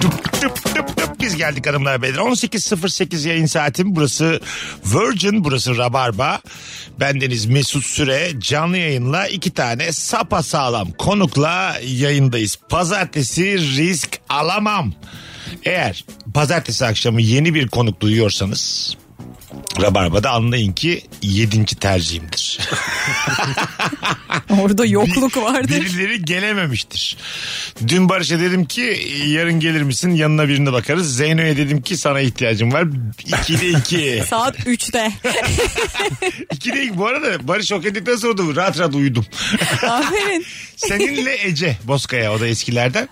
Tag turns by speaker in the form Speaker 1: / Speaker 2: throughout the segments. Speaker 1: Tıp tıp tıp biz geldik hanımlar beyler. 18.08 yayın saatim. Burası Virgin, burası Rabarba. Bendeniz Mesut Süre canlı yayınla iki tane sapa sağlam konukla yayındayız. Pazartesi risk alamam. Eğer pazartesi akşamı yeni bir konuk duyuyorsanız Rabarba'da anlayın ki yedinci tercihimdir.
Speaker 2: Orada yokluk
Speaker 1: Bir-
Speaker 2: vardır.
Speaker 1: Birileri gelememiştir. Dün Barış'a dedim ki yarın gelir misin yanına birine bakarız. Zeyno'ya dedim ki sana ihtiyacım var. İkide iki.
Speaker 2: Saat 3'te.
Speaker 1: İkide iki. Bu arada Barış ok ettikten sonra da rahat rahat uyudum.
Speaker 2: Aferin.
Speaker 1: Seninle Ece Bozkaya o da eskilerden.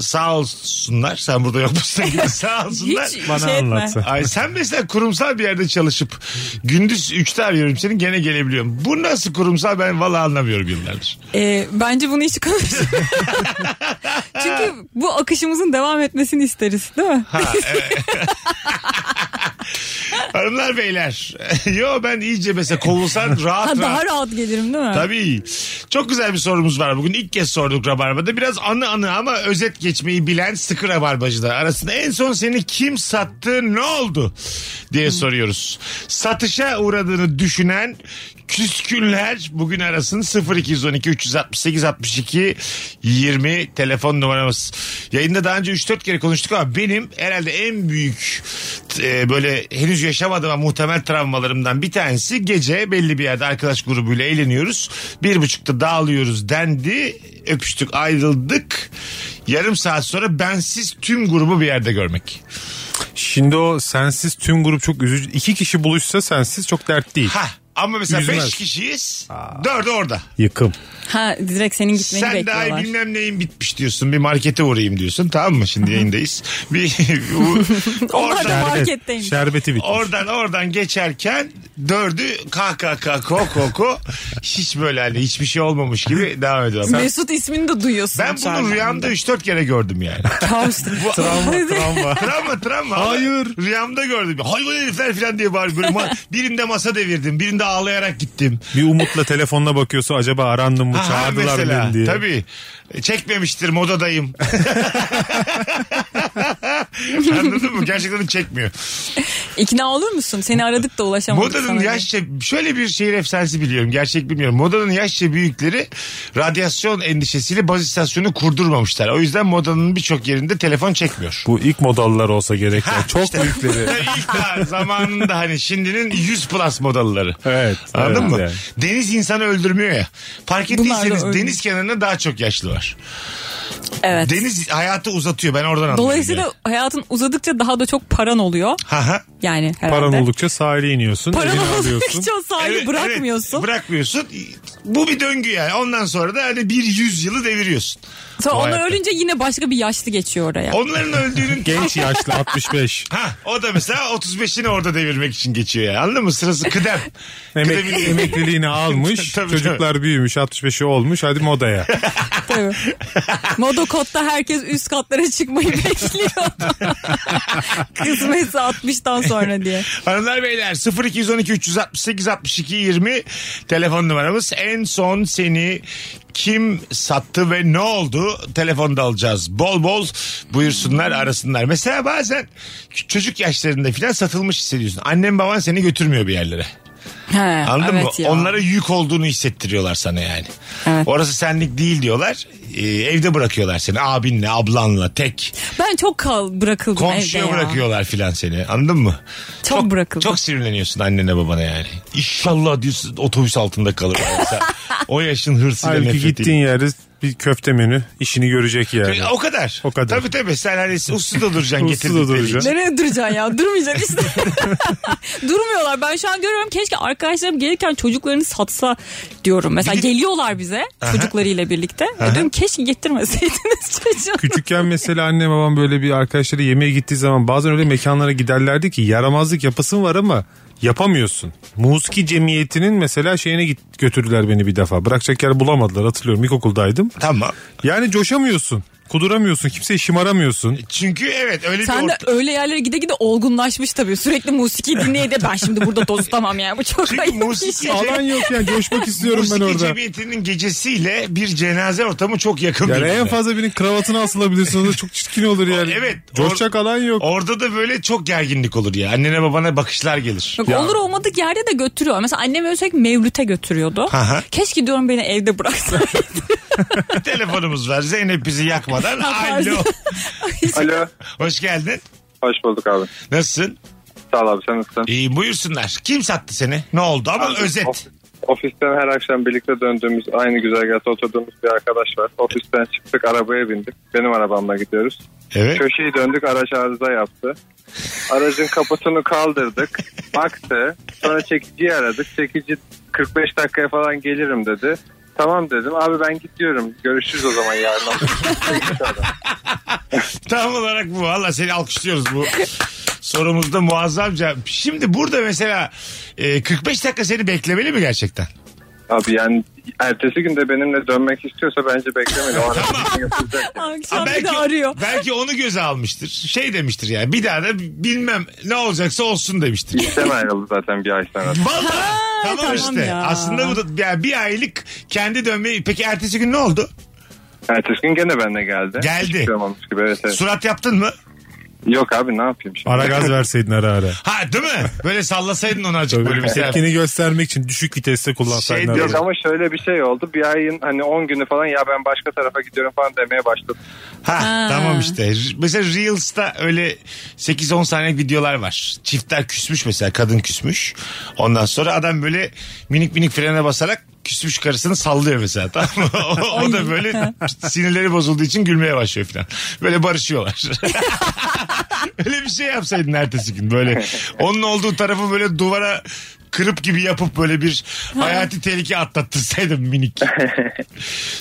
Speaker 1: sağ olsunlar. Sen burada yokmuşsun gibi sağ olsunlar.
Speaker 2: Hiç şey etme.
Speaker 1: Ay sen mesela kurumsal bir yerde çalışıp gündüz 3'te arıyorum seni gene gelebiliyorum. Bu nasıl kurumsal ben vallahi anlamıyorum yıllardır.
Speaker 2: Ee, bence bunu hiç konuşmayalım. Çünkü bu akışımızın devam etmesini isteriz değil mi?
Speaker 1: Hanımlar beyler. Yo ben iyice mesela kovulsan rahat
Speaker 2: Ha,
Speaker 1: rahat.
Speaker 2: daha rahat gelirim değil mi?
Speaker 1: Tabii. Çok güzel bir sorumuz var bugün. İlk kez sorduk Rabarba'da. Biraz anı anı ama özet geçmeyi bilen sıkı Rabarbacılar arasında. En son seni kim sattı ne oldu diye soruyoruz. Satışa uğradığını düşünen küskünler bugün arasın 0212 368 62 20 telefon numaramız. Yayında daha önce 3-4 kere konuştuk ama benim herhalde en büyük e, böyle henüz yaşamadığım ama muhtemel travmalarımdan bir tanesi gece belli bir yerde arkadaş grubuyla eğleniyoruz. Bir buçukta dağılıyoruz dendi. Öpüştük ayrıldık. Yarım saat sonra bensiz tüm grubu bir yerde görmek.
Speaker 3: Şimdi o sensiz tüm grup çok üzücü. İki kişi buluşsa sensiz çok dert değil.
Speaker 1: Ha ama mesela
Speaker 3: Üzmez.
Speaker 1: beş kişiyiz. Dördü orada.
Speaker 3: Yıkım.
Speaker 2: Ha direkt senin gitmeni
Speaker 1: Sen
Speaker 2: bekliyorlar.
Speaker 1: daha bilmem neyin bitmiş diyorsun. Bir markete uğrayayım diyorsun. Tamam mı? Şimdi yayındayız. Bir, bu-
Speaker 2: Onlar da
Speaker 1: oradan,
Speaker 2: marketteyim.
Speaker 3: Şerbeti bitmiş.
Speaker 1: oradan oradan geçerken dördü KKK koko ko hiç böyle hani hiçbir şey olmamış gibi devam ediyor. Ben,
Speaker 2: Mesut ismini de duyuyorsun.
Speaker 1: ben bunu
Speaker 2: içeriden.
Speaker 1: rüyamda 3-4 kere gördüm yani.
Speaker 2: Kaos.
Speaker 1: travma. travma travma.
Speaker 3: Hayır.
Speaker 1: Rüyamda gördüm. Hayvan herifler falan diye bağırıyorum. Böyle ma- birinde masa devirdim. Birinde ağlayarak gittim.
Speaker 3: Bir umutla telefonla bakıyorsa acaba arandım mı
Speaker 1: Ha,
Speaker 3: çağırdılar beni diye.
Speaker 1: Tabii. Çekmemiştir modadayım. Anladın mı? Gerçekten de çekmiyor.
Speaker 2: İkna olur musun? Seni aradık da ulaşamadık
Speaker 1: Modanın
Speaker 2: sana.
Speaker 1: yaşça şöyle bir şehir efsanesi biliyorum. Gerçek bilmiyorum. Modanın yaşça büyükleri radyasyon endişesiyle baz istasyonu kurdurmamışlar. O yüzden modanın birçok yerinde telefon çekmiyor.
Speaker 3: Bu ilk modallar olsa gerek. ya. çok büyükleri.
Speaker 1: İlk daha zamanında hani şimdinin 100 plus modalıları.
Speaker 3: Evet,
Speaker 1: Anladın
Speaker 3: evet
Speaker 1: mı?
Speaker 3: yani.
Speaker 1: Deniz insanı öldürmüyor ya. Fark
Speaker 2: Bunlar da
Speaker 1: ettiyseniz
Speaker 2: öyle.
Speaker 1: deniz kenarında daha çok yaşlı var.
Speaker 2: Evet.
Speaker 1: Deniz hayatı uzatıyor. Ben oradan anlıyorum.
Speaker 2: Dolayısıyla
Speaker 1: yani.
Speaker 2: hayatın uzadıkça daha da çok paran oluyor.
Speaker 1: Ha ha.
Speaker 2: Yani herhalde.
Speaker 3: Paran oldukça sahile iniyorsun.
Speaker 2: Paran
Speaker 3: elini alıyorsun.
Speaker 2: oldukça o sahili
Speaker 1: Evet,
Speaker 2: bırakmıyorsun.
Speaker 1: evet, bırakmıyorsun. Bu bir döngü yani. Ondan sonra da hani bir yüzyılı deviriyorsun.
Speaker 2: Sonra
Speaker 1: O
Speaker 2: onlar
Speaker 1: hayatta.
Speaker 2: ölünce yine başka bir yaşlı geçiyor oraya.
Speaker 1: Onların öldüğünün
Speaker 3: Genç yaşlı 65.
Speaker 1: Ha, o da mesela 35'ini orada devirmek için geçiyor yani. Anladın mı? Sırası kıdem.
Speaker 3: Emek,
Speaker 1: Kıdemin-
Speaker 3: emekliliğini almış.
Speaker 1: Tabii,
Speaker 3: çocuklar büyümüş 65'i olmuş. Hadi modaya.
Speaker 2: Tabii. Modokod'da herkes üst katlara çıkmayı bekliyor. Kısmetse 60'tan sonra diye.
Speaker 1: Hanımlar beyler 0212 368 62 20 telefon numaramız. En son seni kim sattı ve ne oldu telefonda alacağız. Bol bol buyursunlar arasınlar. Mesela bazen çocuk yaşlarında filan satılmış hissediyorsun. Annen baban seni götürmüyor bir yerlere.
Speaker 2: He,
Speaker 1: Anladın
Speaker 2: evet
Speaker 1: mı?
Speaker 2: ya.
Speaker 1: Onlara yük olduğunu hissettiriyorlar sana yani.
Speaker 2: Evet.
Speaker 1: Orası senlik değil diyorlar. Ee, evde bırakıyorlar seni abinle, ablanla, tek.
Speaker 2: Ben çok kal bırakıldım
Speaker 1: Komşuya
Speaker 2: evde ya.
Speaker 1: bırakıyorlar filan seni. Anladın mı?
Speaker 2: Çok bırakıldım.
Speaker 1: Çok sinirleniyorsun annene babana yani. İnşallah diyorsun otobüs altında kalır. Yani sen o yaşın hırsıyla
Speaker 3: Halbuki gittiğin
Speaker 1: nefretiyle.
Speaker 3: yerde bir köfte menü işini görecek yani.
Speaker 1: O kadar.
Speaker 3: O kadar.
Speaker 1: Tabii tabii sen hani uslu da duracaksın.
Speaker 3: Uslu da
Speaker 1: getirdikleri için.
Speaker 3: duracaksın.
Speaker 2: Nereye duracaksın ya? Durmayacaksın işte. Durmuyorlar. Ben şu an görüyorum keşke arkadaşlarım gelirken çocuklarını satsa diyorum. Mesela
Speaker 1: Bir de-
Speaker 2: geliyorlar bize çocuklarıyla birlikte. E diyorum keşke getirmeseydiniz çocuğu.
Speaker 3: Küçükken mesela anne babam böyle bir arkadaşları yemeğe gittiği zaman bazen öyle mekanlara giderlerdi ki yaramazlık yapasın var ama yapamıyorsun. Muski Cemiyeti'nin mesela şeyine git, götürdüler beni bir defa. Bırakacak yer bulamadılar hatırlıyorum ilkokuldaydım.
Speaker 1: Tamam.
Speaker 3: Yani coşamıyorsun. Kuduramıyorsun. Kimseye şımaramıyorsun.
Speaker 1: Çünkü evet öyle bir
Speaker 2: Sen de
Speaker 1: ortam-
Speaker 2: öyle yerlere gide gide olgunlaşmış tabii. Sürekli musiki dinleye de ben şimdi burada tozlamam yani. Bu çok
Speaker 1: Çünkü
Speaker 2: ayıp bir
Speaker 1: musiki-
Speaker 2: şey.
Speaker 3: Alan yok yani. Coşmak istiyorum ben
Speaker 1: Musiki
Speaker 3: orada.
Speaker 1: cemiyetinin gecesiyle bir cenaze ortamı çok yakın.
Speaker 3: Yani
Speaker 1: birbirine.
Speaker 3: en fazla birinin kravatına asılabilirsin. O da çok çirkin olur yani.
Speaker 1: Evet.
Speaker 3: Coşacak alan yok.
Speaker 1: Orada da böyle çok gerginlik olur ya. Annene babana bakışlar gelir.
Speaker 2: Yok, olur olmadık yerde de götürüyor. Mesela annem öyle sürekli Mevlüt'e götürüyordu.
Speaker 1: Aha.
Speaker 2: Keşke diyorum beni evde bıraksa.
Speaker 1: Telefonumuz var. Zeynep bizi yakmadan.
Speaker 2: Yaparsın.
Speaker 1: Alo.
Speaker 4: Alo.
Speaker 1: Hoş geldin.
Speaker 4: Hoş bulduk abi.
Speaker 1: Nasılsın?
Speaker 4: Sağ ol abi sen nasılsın?
Speaker 1: İyi buyursunlar. Kim sattı seni? Ne oldu ama
Speaker 4: Abi,
Speaker 1: özet.
Speaker 4: of- Ofisten her akşam birlikte döndüğümüz aynı güzergahta oturduğumuz bir arkadaş var. Ofisten çıktık arabaya bindik. Benim arabamla gidiyoruz.
Speaker 1: Evet.
Speaker 4: Köşeyi döndük araç arıza yaptı. Aracın kaputunu kaldırdık. Baktı. Sonra çekiciyi aradık. Çekici 45 dakikaya falan gelirim dedi. Tamam dedim. Abi ben gidiyorum. Görüşürüz o zaman yarın.
Speaker 1: Tam olarak bu. Valla seni alkışlıyoruz bu. Sorumuzda muazzamca. Şimdi burada mesela e, 45 dakika seni beklemeli mi gerçekten?
Speaker 4: Abi yani ertesi günde benimle dönmek istiyorsa bence beklemedi. O arada yapılacak.
Speaker 2: Akşam
Speaker 1: Ha,
Speaker 2: bir de arıyor.
Speaker 1: belki onu göze almıştır. Şey demiştir yani bir daha da bilmem ne olacaksa olsun demiştir.
Speaker 4: İşten ayrıldı zaten bir ay sonra.
Speaker 1: Vallahi tamam,
Speaker 2: tamam
Speaker 1: işte.
Speaker 2: ya.
Speaker 1: Aslında bu da yani bir aylık kendi dönmeyi. Peki ertesi gün ne oldu?
Speaker 4: Ertesi gün gene benle geldi.
Speaker 1: Geldi.
Speaker 4: Hiçbir şey olmamış gibi evet, evet.
Speaker 1: Surat yaptın mı?
Speaker 4: Yok abi ne yapayım şimdi?
Speaker 3: Ara gaz verseydin ara ara.
Speaker 1: Ha değil mi? Böyle sallasaydın onu azıcık böyle mesela.
Speaker 3: Tepkini göstermek için düşük viteste
Speaker 1: Şey
Speaker 3: kullansaydın.
Speaker 1: diyor-
Speaker 3: arabayı.
Speaker 4: Yok ama şöyle bir şey oldu. Bir ayın hani 10 günü falan ya ben başka tarafa gidiyorum falan demeye başladım.
Speaker 1: Ha,
Speaker 2: Ha.
Speaker 1: tamam işte. R- Mesela Reels'ta öyle 8-10 saniyelik videolar var. Çiftler küsmüş mesela kadın küsmüş. Ondan sonra adam böyle minik minik frene basarak küsmüş karısını sallıyor mesela tamam mı? O, o da böyle sinirleri bozulduğu için gülmeye başlıyor falan. Böyle barışıyorlar. öyle bir şey yapsaydın ertesi gün böyle. Onun olduğu tarafı böyle duvara kırıp gibi yapıp böyle bir hayati tehlike atlattırsaydın minik.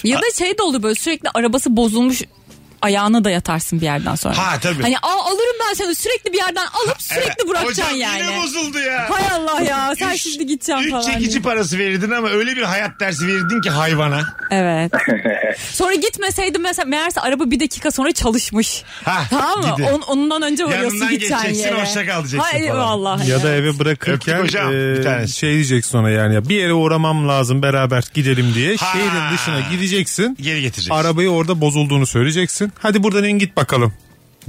Speaker 2: Ya da şey de olur böyle sürekli arabası bozulmuş ayağına da yatarsın bir yerden sonra.
Speaker 1: Ha, tabii.
Speaker 2: Hani Aa, alırım ben seni sürekli bir yerden alıp sürekli bırakacaksın
Speaker 1: Hocam
Speaker 2: yani.
Speaker 1: yine bozuldu ya.
Speaker 2: Hay Allah ya sen
Speaker 1: Üç-
Speaker 2: şimdi gideceksin
Speaker 1: üç
Speaker 2: falan.
Speaker 1: çekici
Speaker 2: diye.
Speaker 1: parası verirdin ama öyle bir hayat dersi verirdin ki hayvana.
Speaker 2: Evet. Sonra gitmeseydim mesela meğerse araba bir dakika sonra çalışmış.
Speaker 1: Ha,
Speaker 2: Tamam mı?
Speaker 1: gidi.
Speaker 2: On- ondan önce varıyorsun
Speaker 1: Yanından
Speaker 2: gideceğin
Speaker 1: geçeceksin,
Speaker 2: yere.
Speaker 1: hoşça kal diyeceksin
Speaker 2: Hayır
Speaker 1: falan.
Speaker 2: vallahi.
Speaker 3: Ya da eve
Speaker 1: Öptük
Speaker 3: bırakırken
Speaker 1: hocam, bir
Speaker 3: e,
Speaker 1: tanesi.
Speaker 3: şey diyeceksin ona yani ya bir yere uğramam lazım beraber gidelim diye.
Speaker 1: Ha.
Speaker 3: Şehrin dışına gideceksin.
Speaker 1: Geri getireceksin.
Speaker 3: Arabayı orada bozulduğunu söyleyeceksin. Hadi buradan in git bakalım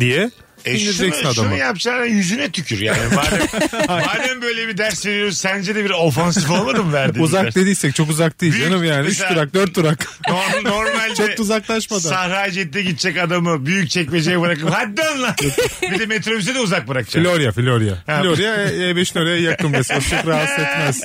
Speaker 3: diye.
Speaker 1: E şunu,
Speaker 3: indireceksin adamı.
Speaker 1: şunu yapacağına yüzüne tükür yani. Madem, madem böyle bir ders veriyoruz sence de bir ofansif olmadı mı verdiğimiz
Speaker 3: Uzak
Speaker 1: ders?
Speaker 3: dediysek çok uzak değil
Speaker 1: Büyük
Speaker 3: canım yani. 3
Speaker 1: mesela-
Speaker 3: durak 4 durak.
Speaker 1: Norm- Normalde
Speaker 3: Çok da uzaklaşmadan.
Speaker 1: Sahra Ceddi'ye gidecek adamı büyük çekmeceye bırakıp hadi lan lan. bir de metrobüse de uzak bırakacaksın.
Speaker 3: Florya, Florya.
Speaker 1: Ha.
Speaker 3: Florya E- E5'in oraya yakın mesela. Çok rahatsız etmez.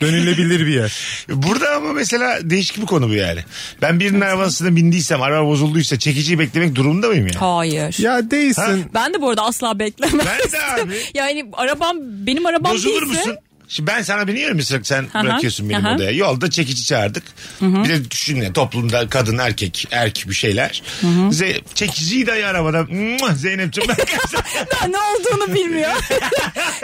Speaker 3: Dönülebilir bir yer.
Speaker 1: Burada ama mesela değişik bir konu bu yani. Ben birinin arabasına bindiysem araba bozulduysa çekiciyi beklemek durumunda mıyım yani?
Speaker 2: Hayır.
Speaker 3: Ya değilsin.
Speaker 2: Ben de bu arada asla beklemezdim.
Speaker 1: Ben de abi.
Speaker 2: Yani arabam benim arabam
Speaker 1: Bozulur
Speaker 2: değilse-
Speaker 1: musun? Şimdi ben sana biniyorum ya sürekli sen
Speaker 2: Aha,
Speaker 1: bırakıyorsun beni
Speaker 2: aha.
Speaker 1: odaya. Yolda çekici çağırdık. Bir de düşün ya toplumda kadın erkek erk bir şeyler. Ze- çekiciyi dayı arabada. "Mua, Zeynep'ciğim ben
Speaker 2: Ben ne olduğunu bilmiyor.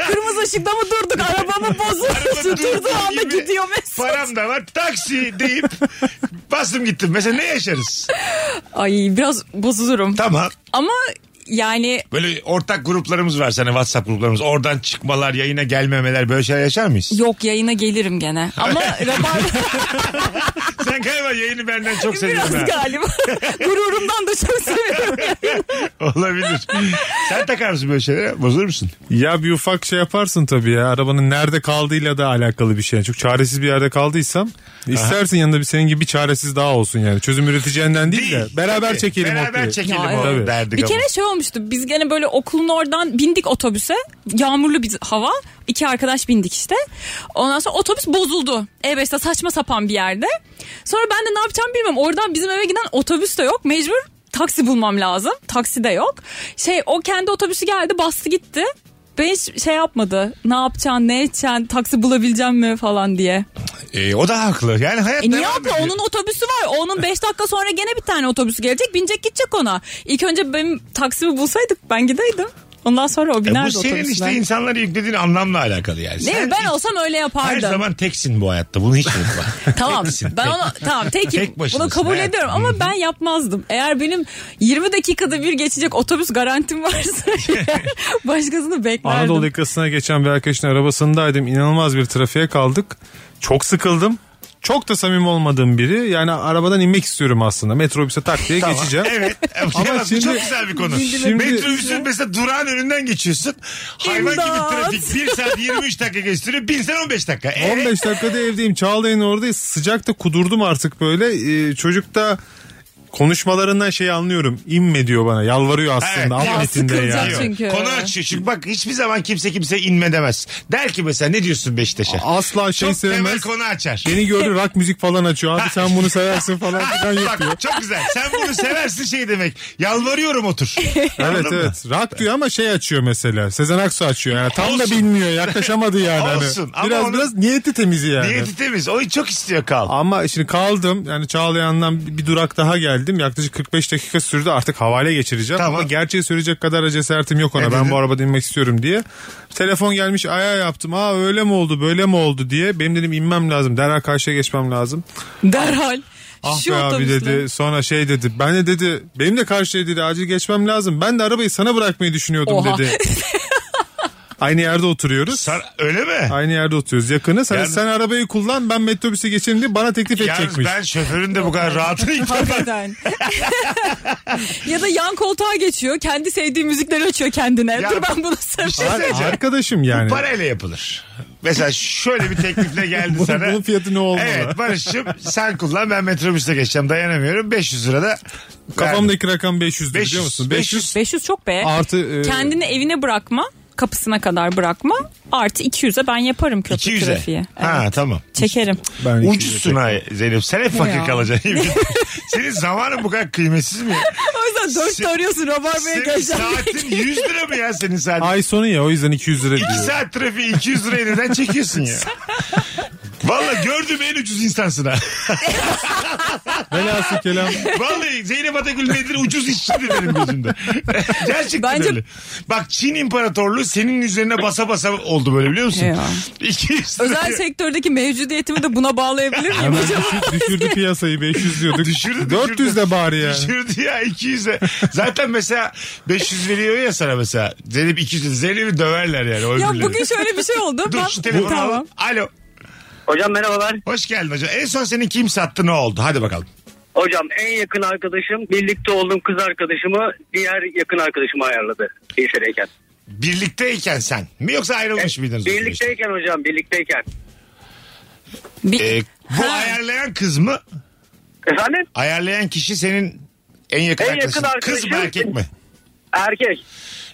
Speaker 2: Kırmızı ışıkta mı durduk? Arabamı bozulmuş. Durduğu anda
Speaker 1: gibi
Speaker 2: gidiyor mesela.
Speaker 1: Param da var taksi deyip bastım gittim. Mesela ne yaşarız?
Speaker 2: Ay biraz bozulurum.
Speaker 1: Tamam.
Speaker 2: Ama yani
Speaker 1: Böyle ortak gruplarımız var sana WhatsApp gruplarımız. Oradan çıkmalar, yayına gelmemeler böyle şeyler yaşar mıyız?
Speaker 2: yok yayına gelirim gene. Ama rabar
Speaker 1: Sen galiba yayını benden çok seviyorsun.
Speaker 2: biraz
Speaker 1: ha.
Speaker 2: galiba. Gururumdan da çok seviyorum.
Speaker 1: Olabilir. Sen takar mısın böyle şeylere? Bozulur musun?
Speaker 3: Ya bir ufak şey yaparsın tabii ya. Arabanın nerede kaldığıyla da alakalı bir şey. Çok çaresiz bir yerde kaldıysam istersin yanında bir senin gibi bir çaresiz daha olsun yani. Çözüm üreteceğinden değil,
Speaker 1: Değil.
Speaker 3: de beraber
Speaker 1: Tabii.
Speaker 3: çekelim
Speaker 1: Beraber
Speaker 3: ortayı.
Speaker 1: çekelim
Speaker 2: Ya,
Speaker 1: o
Speaker 3: evet.
Speaker 1: derdik
Speaker 2: bir
Speaker 1: ama.
Speaker 2: kere şey olmuştu. Biz gene böyle okulun oradan bindik otobüse. Yağmurlu bir hava. İki arkadaş bindik işte. Ondan sonra otobüs bozuldu. E5'te saçma sapan bir yerde. Sonra ben de ne yapacağımı bilmiyorum. Oradan bizim eve giden otobüs de yok. Mecbur taksi bulmam lazım. Taksi de yok. Şey o kendi otobüsü geldi bastı gitti. Ben hiç şey yapmadı. Ne yapacaksın, ne edeceksin, taksi bulabileceğim mi falan diye.
Speaker 1: E, o da haklı. Yani hayat
Speaker 2: E niye
Speaker 1: devam
Speaker 2: abla
Speaker 1: ediyor.
Speaker 2: onun otobüsü var. Onun 5 dakika sonra gene bir tane otobüs gelecek. Binecek gidecek ona. İlk önce benim taksimi bulsaydık ben gideydim. Ondan sonra o
Speaker 1: E,
Speaker 2: biner de
Speaker 1: bu senin
Speaker 2: otobüsler.
Speaker 1: işte insanlara yüklediğin anlamla alakalı yani.
Speaker 2: Değil
Speaker 1: Sen
Speaker 2: mi? Ben olsam öyle
Speaker 1: her
Speaker 2: yapardım.
Speaker 1: zaman teksin bu hayatta. Bunu hiç unutma.
Speaker 2: Tamam.
Speaker 1: Teksin,
Speaker 2: Ben
Speaker 1: tek.
Speaker 2: onu tamam tekim.
Speaker 1: Tek başınasın,
Speaker 2: Bunu kabul
Speaker 1: evet.
Speaker 2: ediyorum ama ben yapmazdım. Eğer benim 20 dakikada bir geçecek otobüs garantim varsa başkasını beklerdim.
Speaker 3: Anadolu yakasına geçen bir arkadaşın arabasındaydım. İnanılmaz bir trafiğe kaldık. Çok sıkıldım. Çok da samimi olmadığım biri. Yani arabadan inmek istiyorum aslında. Metrobüse tak diye geçeceğim.
Speaker 1: Evet. Ama
Speaker 3: Ama
Speaker 1: bu
Speaker 3: şimdi-
Speaker 1: çok güzel bir konu.
Speaker 3: Şimdi-
Speaker 1: Metrobüsün mesela durağın önünden geçiyorsun. Hayvan
Speaker 2: İmdat.
Speaker 1: gibi trafik. 1 saat 23 dakika geçtiriyor. Binsen 15 dakika. E,
Speaker 3: 15 dakikada evdeyim. Çağlayan oradayız. Sıcakta kudurdum artık böyle. Ee, çocuk da konuşmalarından şey anlıyorum. İnme diyor bana. Yalvarıyor
Speaker 1: Evet.
Speaker 3: aslında.
Speaker 1: Ya,
Speaker 3: Alt metinde
Speaker 2: sıkılacak
Speaker 3: yani.
Speaker 1: Yok.
Speaker 2: çünkü.
Speaker 1: Konu açıyor. Çünkü bak hiçbir zaman kimse kimse inme demez. Der ki mesela ne diyorsun Beşiktaş'a?
Speaker 3: Asla şey
Speaker 1: Çok temel
Speaker 3: sevmez.
Speaker 1: konu açar.
Speaker 3: Beni gördü rock müzik falan açıyor. Abi sen bunu seversin falan filan yapıyor.
Speaker 1: Bak çok güzel. Sen bunu seversin şey demek. Yalvarıyorum otur.
Speaker 3: Evet evet. Rock diyor ama şey açıyor mesela. Sezen Aksu açıyor. Yani tam da
Speaker 1: Olsun.
Speaker 3: bilmiyor. Yaklaşamadı yani. Hani
Speaker 1: Olsun ama
Speaker 3: Biraz
Speaker 1: onun-
Speaker 3: biraz niyeti temizi yani.
Speaker 1: Niyeti temiz. O çok istiyor kal.
Speaker 3: Ama şimdi kaldım yani Çağlayan'dan bir bir durak daha geldim. Yaklaşık 45 dakika sürdü artık havale geçireceğim.
Speaker 1: Tamam. E,
Speaker 3: Ama gerçeği söyleyecek kadar da cesaretim yok ona.
Speaker 1: Ne
Speaker 3: ben
Speaker 1: dedin?
Speaker 3: bu arabada inmek istiyorum diye. Telefon gelmiş aya yaptım. Aa öyle mi oldu böyle mi oldu diye. Benim dedim inmem lazım. Derhal karşıya geçmem lazım.
Speaker 2: Derhal.
Speaker 3: Ah
Speaker 2: Şu
Speaker 3: be abi
Speaker 2: otobüsle.
Speaker 3: dedi. Sonra şey dedi. Ben de dedi benim de karşıya dedi acil geçmem lazım. Ben de arabayı sana bırakmayı düşünüyordum
Speaker 2: Oha.
Speaker 3: dedi. Aynı yerde oturuyoruz.
Speaker 1: Sen, öyle mi?
Speaker 3: Aynı yerde oturuyoruz yakınız. Hani
Speaker 1: Yalnız-
Speaker 3: sen arabayı kullan ben metrobüse geçelim diye bana teklif
Speaker 1: Yalnız
Speaker 3: edecekmiş.
Speaker 1: ben şoförün de bu kadar rahatını ilk defa-
Speaker 2: Hakikaten. ya da yan koltuğa geçiyor. Kendi sevdiği müzikleri açıyor kendine.
Speaker 1: Ya-
Speaker 2: Dur ben
Speaker 1: Bir
Speaker 2: bunu
Speaker 1: şey
Speaker 2: sarıp.
Speaker 3: Ar-
Speaker 1: söyleyeceğim.
Speaker 3: arkadaşım yani.
Speaker 1: Parayla yapılır. Mesela şöyle bir teklifle geldi
Speaker 3: Bunun-
Speaker 1: sana.
Speaker 3: bunun fiyatı ne olmalı?
Speaker 1: Evet Barış'cığım sen kullan ben metrobüste geçeceğim dayanamıyorum. 500 lira da verdim.
Speaker 3: Kafamdaki rakam 500 'dür,
Speaker 1: 500,
Speaker 3: biliyor musun?
Speaker 1: 500.
Speaker 3: 500.
Speaker 2: 500 çok be.
Speaker 3: Artı e,
Speaker 2: Kendini evine bırakma. Kapısına kadar bırakma. Artı 200'e ben yaparım köprü
Speaker 1: 200'e.
Speaker 2: trafiği. Evet.
Speaker 1: Ha tamam.
Speaker 2: Çekerim.
Speaker 3: ben
Speaker 1: Ucuzsun ha Zeynep. Sen hep fakir
Speaker 2: ya?
Speaker 1: kalacaksın. Senin zamanın bu kadar kıymetsiz mi?
Speaker 2: O yüzden
Speaker 1: Se-
Speaker 2: dörtte arıyorsun Rabar Bey'e
Speaker 1: Senin saatin 100 lira mı ya senin saatin?
Speaker 3: Ay sonu ya o yüzden 200 lira
Speaker 1: 2
Speaker 3: diyor.
Speaker 1: saat trafiği 200 lirayı neden çekiyorsun ya? Vallahi gördüğüm en ucuz insansın ha.
Speaker 3: Velhasıl kelam.
Speaker 1: Vallahi Zeynep Atagül nedir ucuz işçidir benim gözümde. Gerçekten
Speaker 2: Bence-
Speaker 1: öyle. Bak Çin İmparatorluğu senin üzerine basa basa oldu böyle biliyor musun?
Speaker 2: Ya.
Speaker 1: 200 liraya
Speaker 2: Özel sektördeki mevcudiyetimi de buna bağlayabilir miyim?
Speaker 3: Hemen düşür- düşürdü piyasayı 500 diyorduk.
Speaker 1: düşürdü, düşürdü.
Speaker 3: 400 de bari ya.
Speaker 1: düşürdü ya 200'e. Zaten mesela 500 veriyor ya sana mesela. Zeynep 200 dedi. Zeynep'i döverler yani. O
Speaker 2: Ya
Speaker 1: öbürleri.
Speaker 2: bugün şöyle bir şey oldu.
Speaker 1: Dur
Speaker 2: ben...
Speaker 1: şu telefonu
Speaker 2: tamam.
Speaker 1: al. Alo.
Speaker 5: Hocam merhabalar.
Speaker 1: Hoş geldin hocam. En son seni kim sattı ne oldu? Hadi bakalım.
Speaker 5: Hocam en yakın arkadaşım birlikte olduğum kız arkadaşımı diğer yakın arkadaşıma ayarladı lisedeyken.
Speaker 1: Birlikteyken sen mi yoksa ayrılmış
Speaker 5: E,
Speaker 1: mıydınız?
Speaker 5: Birlikteyken hocam birlikteyken.
Speaker 2: Bir-
Speaker 1: Ee, bu
Speaker 2: Ha.
Speaker 1: ayarlayan kız mı?
Speaker 5: Efendim
Speaker 1: Ayarlayan kişi senin en yakın
Speaker 5: En yakın
Speaker 1: arkadaşın. Kız mı
Speaker 5: arkadaşım.
Speaker 1: erkek mi?
Speaker 5: erkek.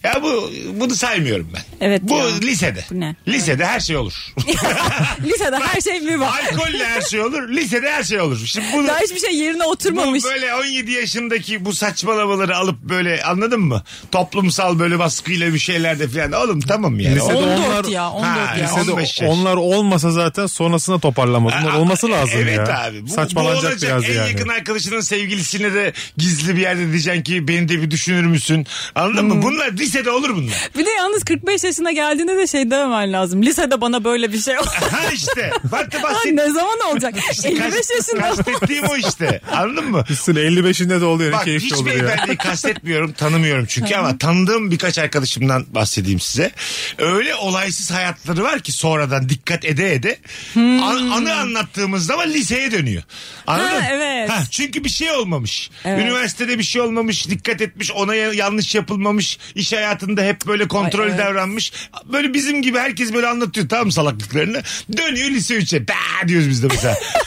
Speaker 1: Ya bu bunu saymıyorum ben.
Speaker 2: Evet
Speaker 1: Bu
Speaker 2: ya.
Speaker 1: lisede.
Speaker 2: Bu ne?
Speaker 1: Lisede her şey olur.
Speaker 2: Lisede her şey mi var?
Speaker 1: Alkolle her şey olur. Lisede her şey olur. Şimdi bunu
Speaker 2: Daha hiçbir şey yerine
Speaker 1: Bu
Speaker 2: oturmamış.
Speaker 1: böyle 17 yaşındaki bu saçmalamaları alıp böyle anladın mı? Toplumsal böyle baskıyla bir şeyler de falan. Oğlum tamam yani.
Speaker 3: Lisede
Speaker 2: 14
Speaker 3: onlar-
Speaker 2: ya 14
Speaker 1: Ha,
Speaker 2: ya.
Speaker 3: Lisede
Speaker 1: 15 yaş.
Speaker 3: onlar olmasa zaten sonrasına toparlamaz. Onlar
Speaker 1: Aa,
Speaker 3: olması lazım
Speaker 1: evet
Speaker 3: ya.
Speaker 1: abi. Bu,
Speaker 3: Saçmalanacak
Speaker 1: bu olacak.
Speaker 3: biraz
Speaker 1: en
Speaker 3: yani.
Speaker 1: yakın arkadaşının sevgilisine de gizli bir yerde diyeceksin ki beni de bir düşünür müsün? Anladın
Speaker 3: Hmm.
Speaker 1: mı? Bunlar lisede olur bunlar.
Speaker 2: Bir de yalnız 45 yaşına geldiğinde de şey dememen lazım. Lisede bana böyle bir şey oldu.
Speaker 1: ha işte. Bak da
Speaker 2: Lan
Speaker 1: bahsettiğim.
Speaker 2: ne zaman olacak? 55 yaşında.
Speaker 1: Kastettiğim o işte. Anladın mı?
Speaker 3: Üstüne 55'inde de oluyor. ne
Speaker 1: Bak
Speaker 3: keyifli
Speaker 1: hiç
Speaker 3: olur ya.
Speaker 1: beyefendiyi kastetmiyorum tanımıyorum çünkü ama tanıdığım birkaç arkadaşımdan bahsedeyim size. Öyle olaysız hayatları var ki sonradan dikkat ede ede
Speaker 3: Hmm.
Speaker 1: an- anı anlattığımız zaman liseye dönüyor. Anladın?
Speaker 2: Ha,
Speaker 1: mı?
Speaker 2: evet.
Speaker 1: Ha, çünkü bir şey olmamış.
Speaker 2: Evet.
Speaker 1: Üniversitede bir şey olmamış dikkat etmiş ona ya- yanlış yapılmamış iş hayatında hep böyle kontrol
Speaker 2: Ay, evet.
Speaker 1: davranmış. Böyle bizim gibi herkes böyle anlatıyor tam salaklıklarını dönüyor lise 3'e "Bah!" diyoruz biz de mesela.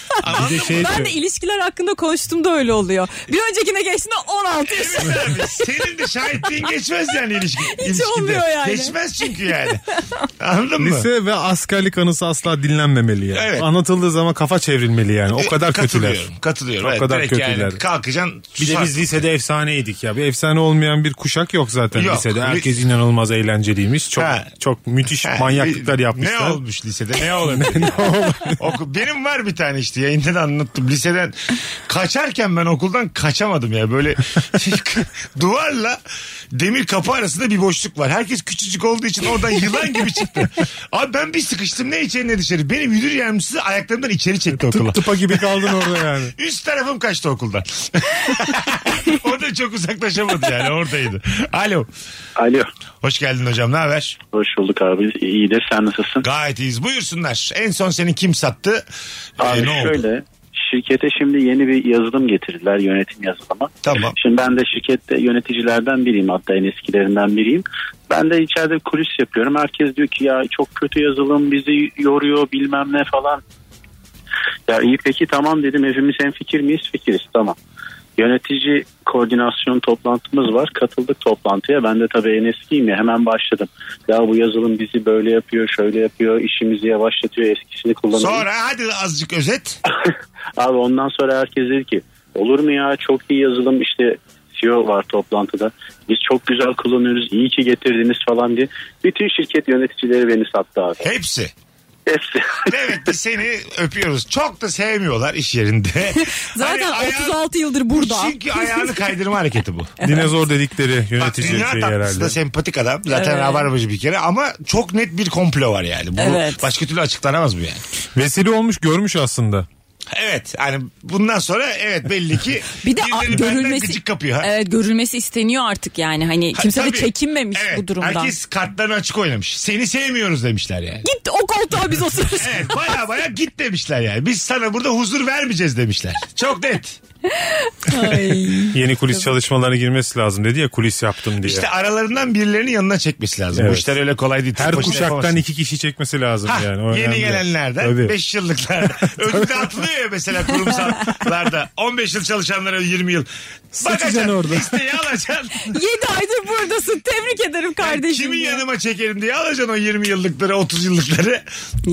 Speaker 3: Bir de şey
Speaker 2: Ben
Speaker 3: diyor.
Speaker 2: de ilişkiler hakkında konuştuğumda öyle oluyor. Bir öncekine geçtiğinde 16 yaşında.
Speaker 1: Evet abi, Senin de şahitliğin geçmez yani ilişki. ilişkide.
Speaker 2: olmuyor yani.
Speaker 1: Geçmez çünkü yani. Anladın mı?
Speaker 3: Lise ve askerlik anısı asla dinlenmemeli yani.
Speaker 1: Evet. E,
Speaker 3: Anlatıldığı zaman kafa çevrilmeli yani. O kadar
Speaker 1: Katılıyorum,
Speaker 3: kötüler.
Speaker 1: Katılıyorum.
Speaker 3: O
Speaker 1: Evet,
Speaker 3: kadar
Speaker 1: direkt yani
Speaker 3: kötüler.
Speaker 1: kalkacaksın.
Speaker 3: Bir de biz
Speaker 1: susarsın.
Speaker 3: lisede efsaneydik ya. Bir efsane olmayan bir kuşak yok zaten
Speaker 1: Yok.
Speaker 3: lisede.
Speaker 1: Li-
Speaker 3: Herkes inanılmaz eğlenceliymiş. Çok
Speaker 1: Ha.
Speaker 3: çok müthiş
Speaker 1: Ha,
Speaker 3: manyaklıklar
Speaker 1: bir-
Speaker 3: yapmışlar.
Speaker 1: Ne olmuş lisede? Ne olabilir? Oku- Benim var bir tane işte yayın Yayında da anlattım. Liseden kaçarken ben okuldan kaçamadım ya. Böyle duvarla demir kapı arasında bir boşluk var. Herkes küçücük olduğu için oradan yılan gibi çıktı. Abi ben bir sıkıştım ne içeri ne dışarı. Beni müdür yardımcısı ayaklarımdan içeri çekti okula.
Speaker 3: Tıp tıpa gibi kaldın orada yani.
Speaker 1: Üst tarafım kaçtı okuldan. o da çok uzaklaşamadı yani oradaydı. Alo.
Speaker 6: Alo.
Speaker 1: Hoş geldin hocam ne haber?
Speaker 6: Hoş bulduk abi. İyidir. Sen nasılsın?
Speaker 1: Gayet iyiyiz. Buyursunlar. En son seni kim sattı? Ee,
Speaker 6: Abi
Speaker 1: ne oldu?
Speaker 6: şöyle şirkete şimdi yeni bir yazılım getirdiler yönetim yazılımı.
Speaker 1: Tamam.
Speaker 6: Şimdi ben de şirkette yöneticilerden biriyim hatta en eskilerinden biriyim. Ben de içeride kulis yapıyorum. Herkes diyor ki ya çok kötü yazılım bizi yoruyor bilmem ne falan. Ya iyi peki tamam dedim hepimiz en fikir miyiz? Fikiriz tamam. Yönetici koordinasyon toplantımız var. Katıldık toplantıya. Ben de tabii en eskiyim ya hemen başladım. Ya bu yazılım bizi böyle yapıyor, şöyle yapıyor, işimizi yavaşlatıyor, eskisini kullanıyor.
Speaker 1: Sonra hadi azıcık özet.
Speaker 6: Abi ondan sonra herkes dedi ki olur mu ya çok iyi yazılım işte CEO var toplantıda. Biz çok güzel kullanıyoruz iyi ki getirdiniz falan diye. Bütün şirket yöneticileri beni sattı abi.
Speaker 1: Hepsi.
Speaker 6: Hepsi.
Speaker 1: Demek ki seni öpüyoruz. Çok da sevmiyorlar iş yerinde.
Speaker 2: Zaten
Speaker 1: Hani ayağı-
Speaker 2: 36 yıldır burada.
Speaker 1: Çünkü ayağını kaydırma hareketi bu.
Speaker 3: Dinozor dedikleri
Speaker 1: Bak
Speaker 3: yönetici şeyi
Speaker 1: dünya tatlısı şey.
Speaker 3: herhalde.
Speaker 1: da sempatik adam. Zaten
Speaker 2: Evet.
Speaker 1: rabarbacı bir kere ama çok net bir komplo var yani. Bu
Speaker 2: Evet.
Speaker 1: başka türlü açıklanamaz bu yani.
Speaker 3: Vesile olmuş görmüş aslında.
Speaker 1: Evet hani bundan sonra evet belli ki
Speaker 2: Bir de a-
Speaker 1: birileri benden
Speaker 2: görülmesi
Speaker 1: gıcık kapıyor. Ha.
Speaker 2: Evet görülmesi isteniyor artık yani. Hani
Speaker 1: Ha,
Speaker 2: kimse de
Speaker 1: tabii.
Speaker 2: çekinmemiş
Speaker 1: Evet,
Speaker 2: bu durumdan.
Speaker 1: Herkes kartlarını açık oynamış. Seni sevmiyoruz demişler yani.
Speaker 2: Git o koltuğa biz otururuz.
Speaker 1: Evet baya baya git demişler yani. Biz sana burada huzur vermeyeceğiz demişler. Çok net.
Speaker 2: Ay.
Speaker 3: Yeni kulis çalışmalarına girmesi lazım dedi ya kulis yaptım diye.
Speaker 1: İşte aralarından birilerinin yanına çekmesi lazım. Bu
Speaker 3: Evet.
Speaker 1: işler öyle kolay değil. Tek
Speaker 3: Her
Speaker 1: başına
Speaker 3: kuşaktan
Speaker 1: yapamazsın.
Speaker 3: iki kişi çekmesi lazım
Speaker 1: Ha,
Speaker 3: yani. O
Speaker 1: yeni
Speaker 3: önemli.
Speaker 1: gelenlerden
Speaker 3: Tabii.
Speaker 1: 5 yıllıklardan. Ödül de atılıyor ya mesela kurumsallarda. 15 yıl çalışanlara 20 yıl. Bakacaksın
Speaker 3: orada.
Speaker 1: listeyi alacaksın.
Speaker 2: 7 aydır buradasın. Tebrik ederim kardeşim.
Speaker 1: Kimin
Speaker 2: ya.
Speaker 1: yanıma çekerim diye alacaksın o 20 yıllıkları 30 yıllıkları.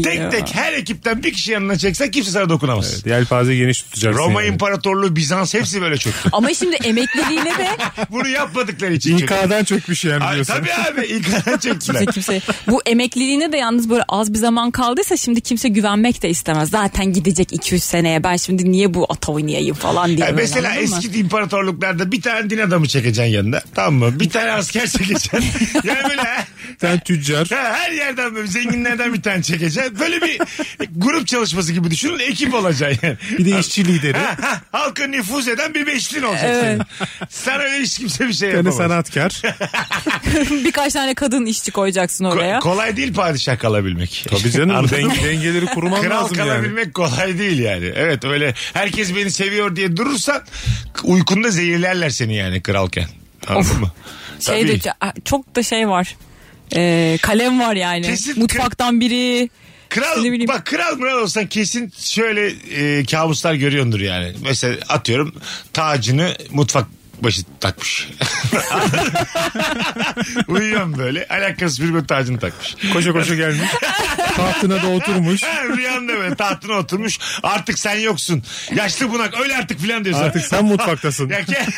Speaker 1: Tek
Speaker 2: Ya.
Speaker 1: tek her ekipten bir kişi yanına çeksen kimse sana dokunamaz.
Speaker 3: Evet, Yelpaze geniş tutacaksın.
Speaker 1: Roma
Speaker 3: yani.
Speaker 1: İmparatorluğu Bizans hepsi böyle çöktü.
Speaker 2: Ama şimdi emekliliğine de
Speaker 1: Bunu yapmadıkları için çöktü.
Speaker 3: İnka'dan çökmüş yani
Speaker 1: Ay,
Speaker 3: diyorsun.
Speaker 1: tabii abi İK'dan çöktüler.
Speaker 2: kimse kimse bu emekliliğine de yalnız böyle az bir zaman kaldıysa şimdi kimse güvenmek de istemez. Zaten gidecek 2-3 seneye ben şimdi niye bu ata oynayayım falan diye.
Speaker 1: Ya
Speaker 2: böyle,
Speaker 1: E mesela
Speaker 2: anladın mı?
Speaker 1: eski imparatorluklarda bir tane din adamı çekeceksin yanına. Tamam mı? Bir tane asker çekeceksin. yani böyle ha,
Speaker 3: Sen tüccar.
Speaker 1: her yerden böyle zenginlerden bir tane çekeceksin. Böyle bir grup çalışması gibi düşünün. Ekip olacaksın yani.
Speaker 3: Bir de işçi lideri.
Speaker 1: Ha, ha, halka nüfuz eden bir beşlin olacak senin. Sana öyle hiç kimse bir şey
Speaker 3: Yani
Speaker 1: yapamaz.
Speaker 3: sanatkar.
Speaker 2: Birkaç tane kadın işçi koyacaksın
Speaker 1: Ko-
Speaker 2: oraya.
Speaker 1: kolay değil padişah kalabilmek.
Speaker 3: Tabii canım
Speaker 1: Anladın mı?
Speaker 3: denge- dengeleri kurman
Speaker 1: Kral
Speaker 3: lazım yani.
Speaker 1: kalabilmek kolay değil yani. Evet öyle herkes beni seviyor diye durursan uykunda zehirlerler seni yani kralken. Anladın mı?
Speaker 2: şey
Speaker 1: Tabii.
Speaker 2: de ç- çok da şey var. Ee, kalem var yani.
Speaker 1: Kesin
Speaker 2: Mutfaktan biri.
Speaker 1: Kral
Speaker 2: Ne bileyim.
Speaker 1: bak kral kral olsan kesin şöyle e, kabuslar görüyordur yani. Mesela atıyorum tacını mutfak başı takmış. Uyuyorum böyle. Alakasız bir gün tacını takmış.
Speaker 3: Koşa koşa gelmiş. Tahtına da oturmuş.
Speaker 1: Ha, Rüyanda böyle tahtına oturmuş. Artık sen yoksun. Yaşlı bunak öyle artık filan diyorsun.
Speaker 3: Artık sen mutfaktasın.
Speaker 1: Ya ke-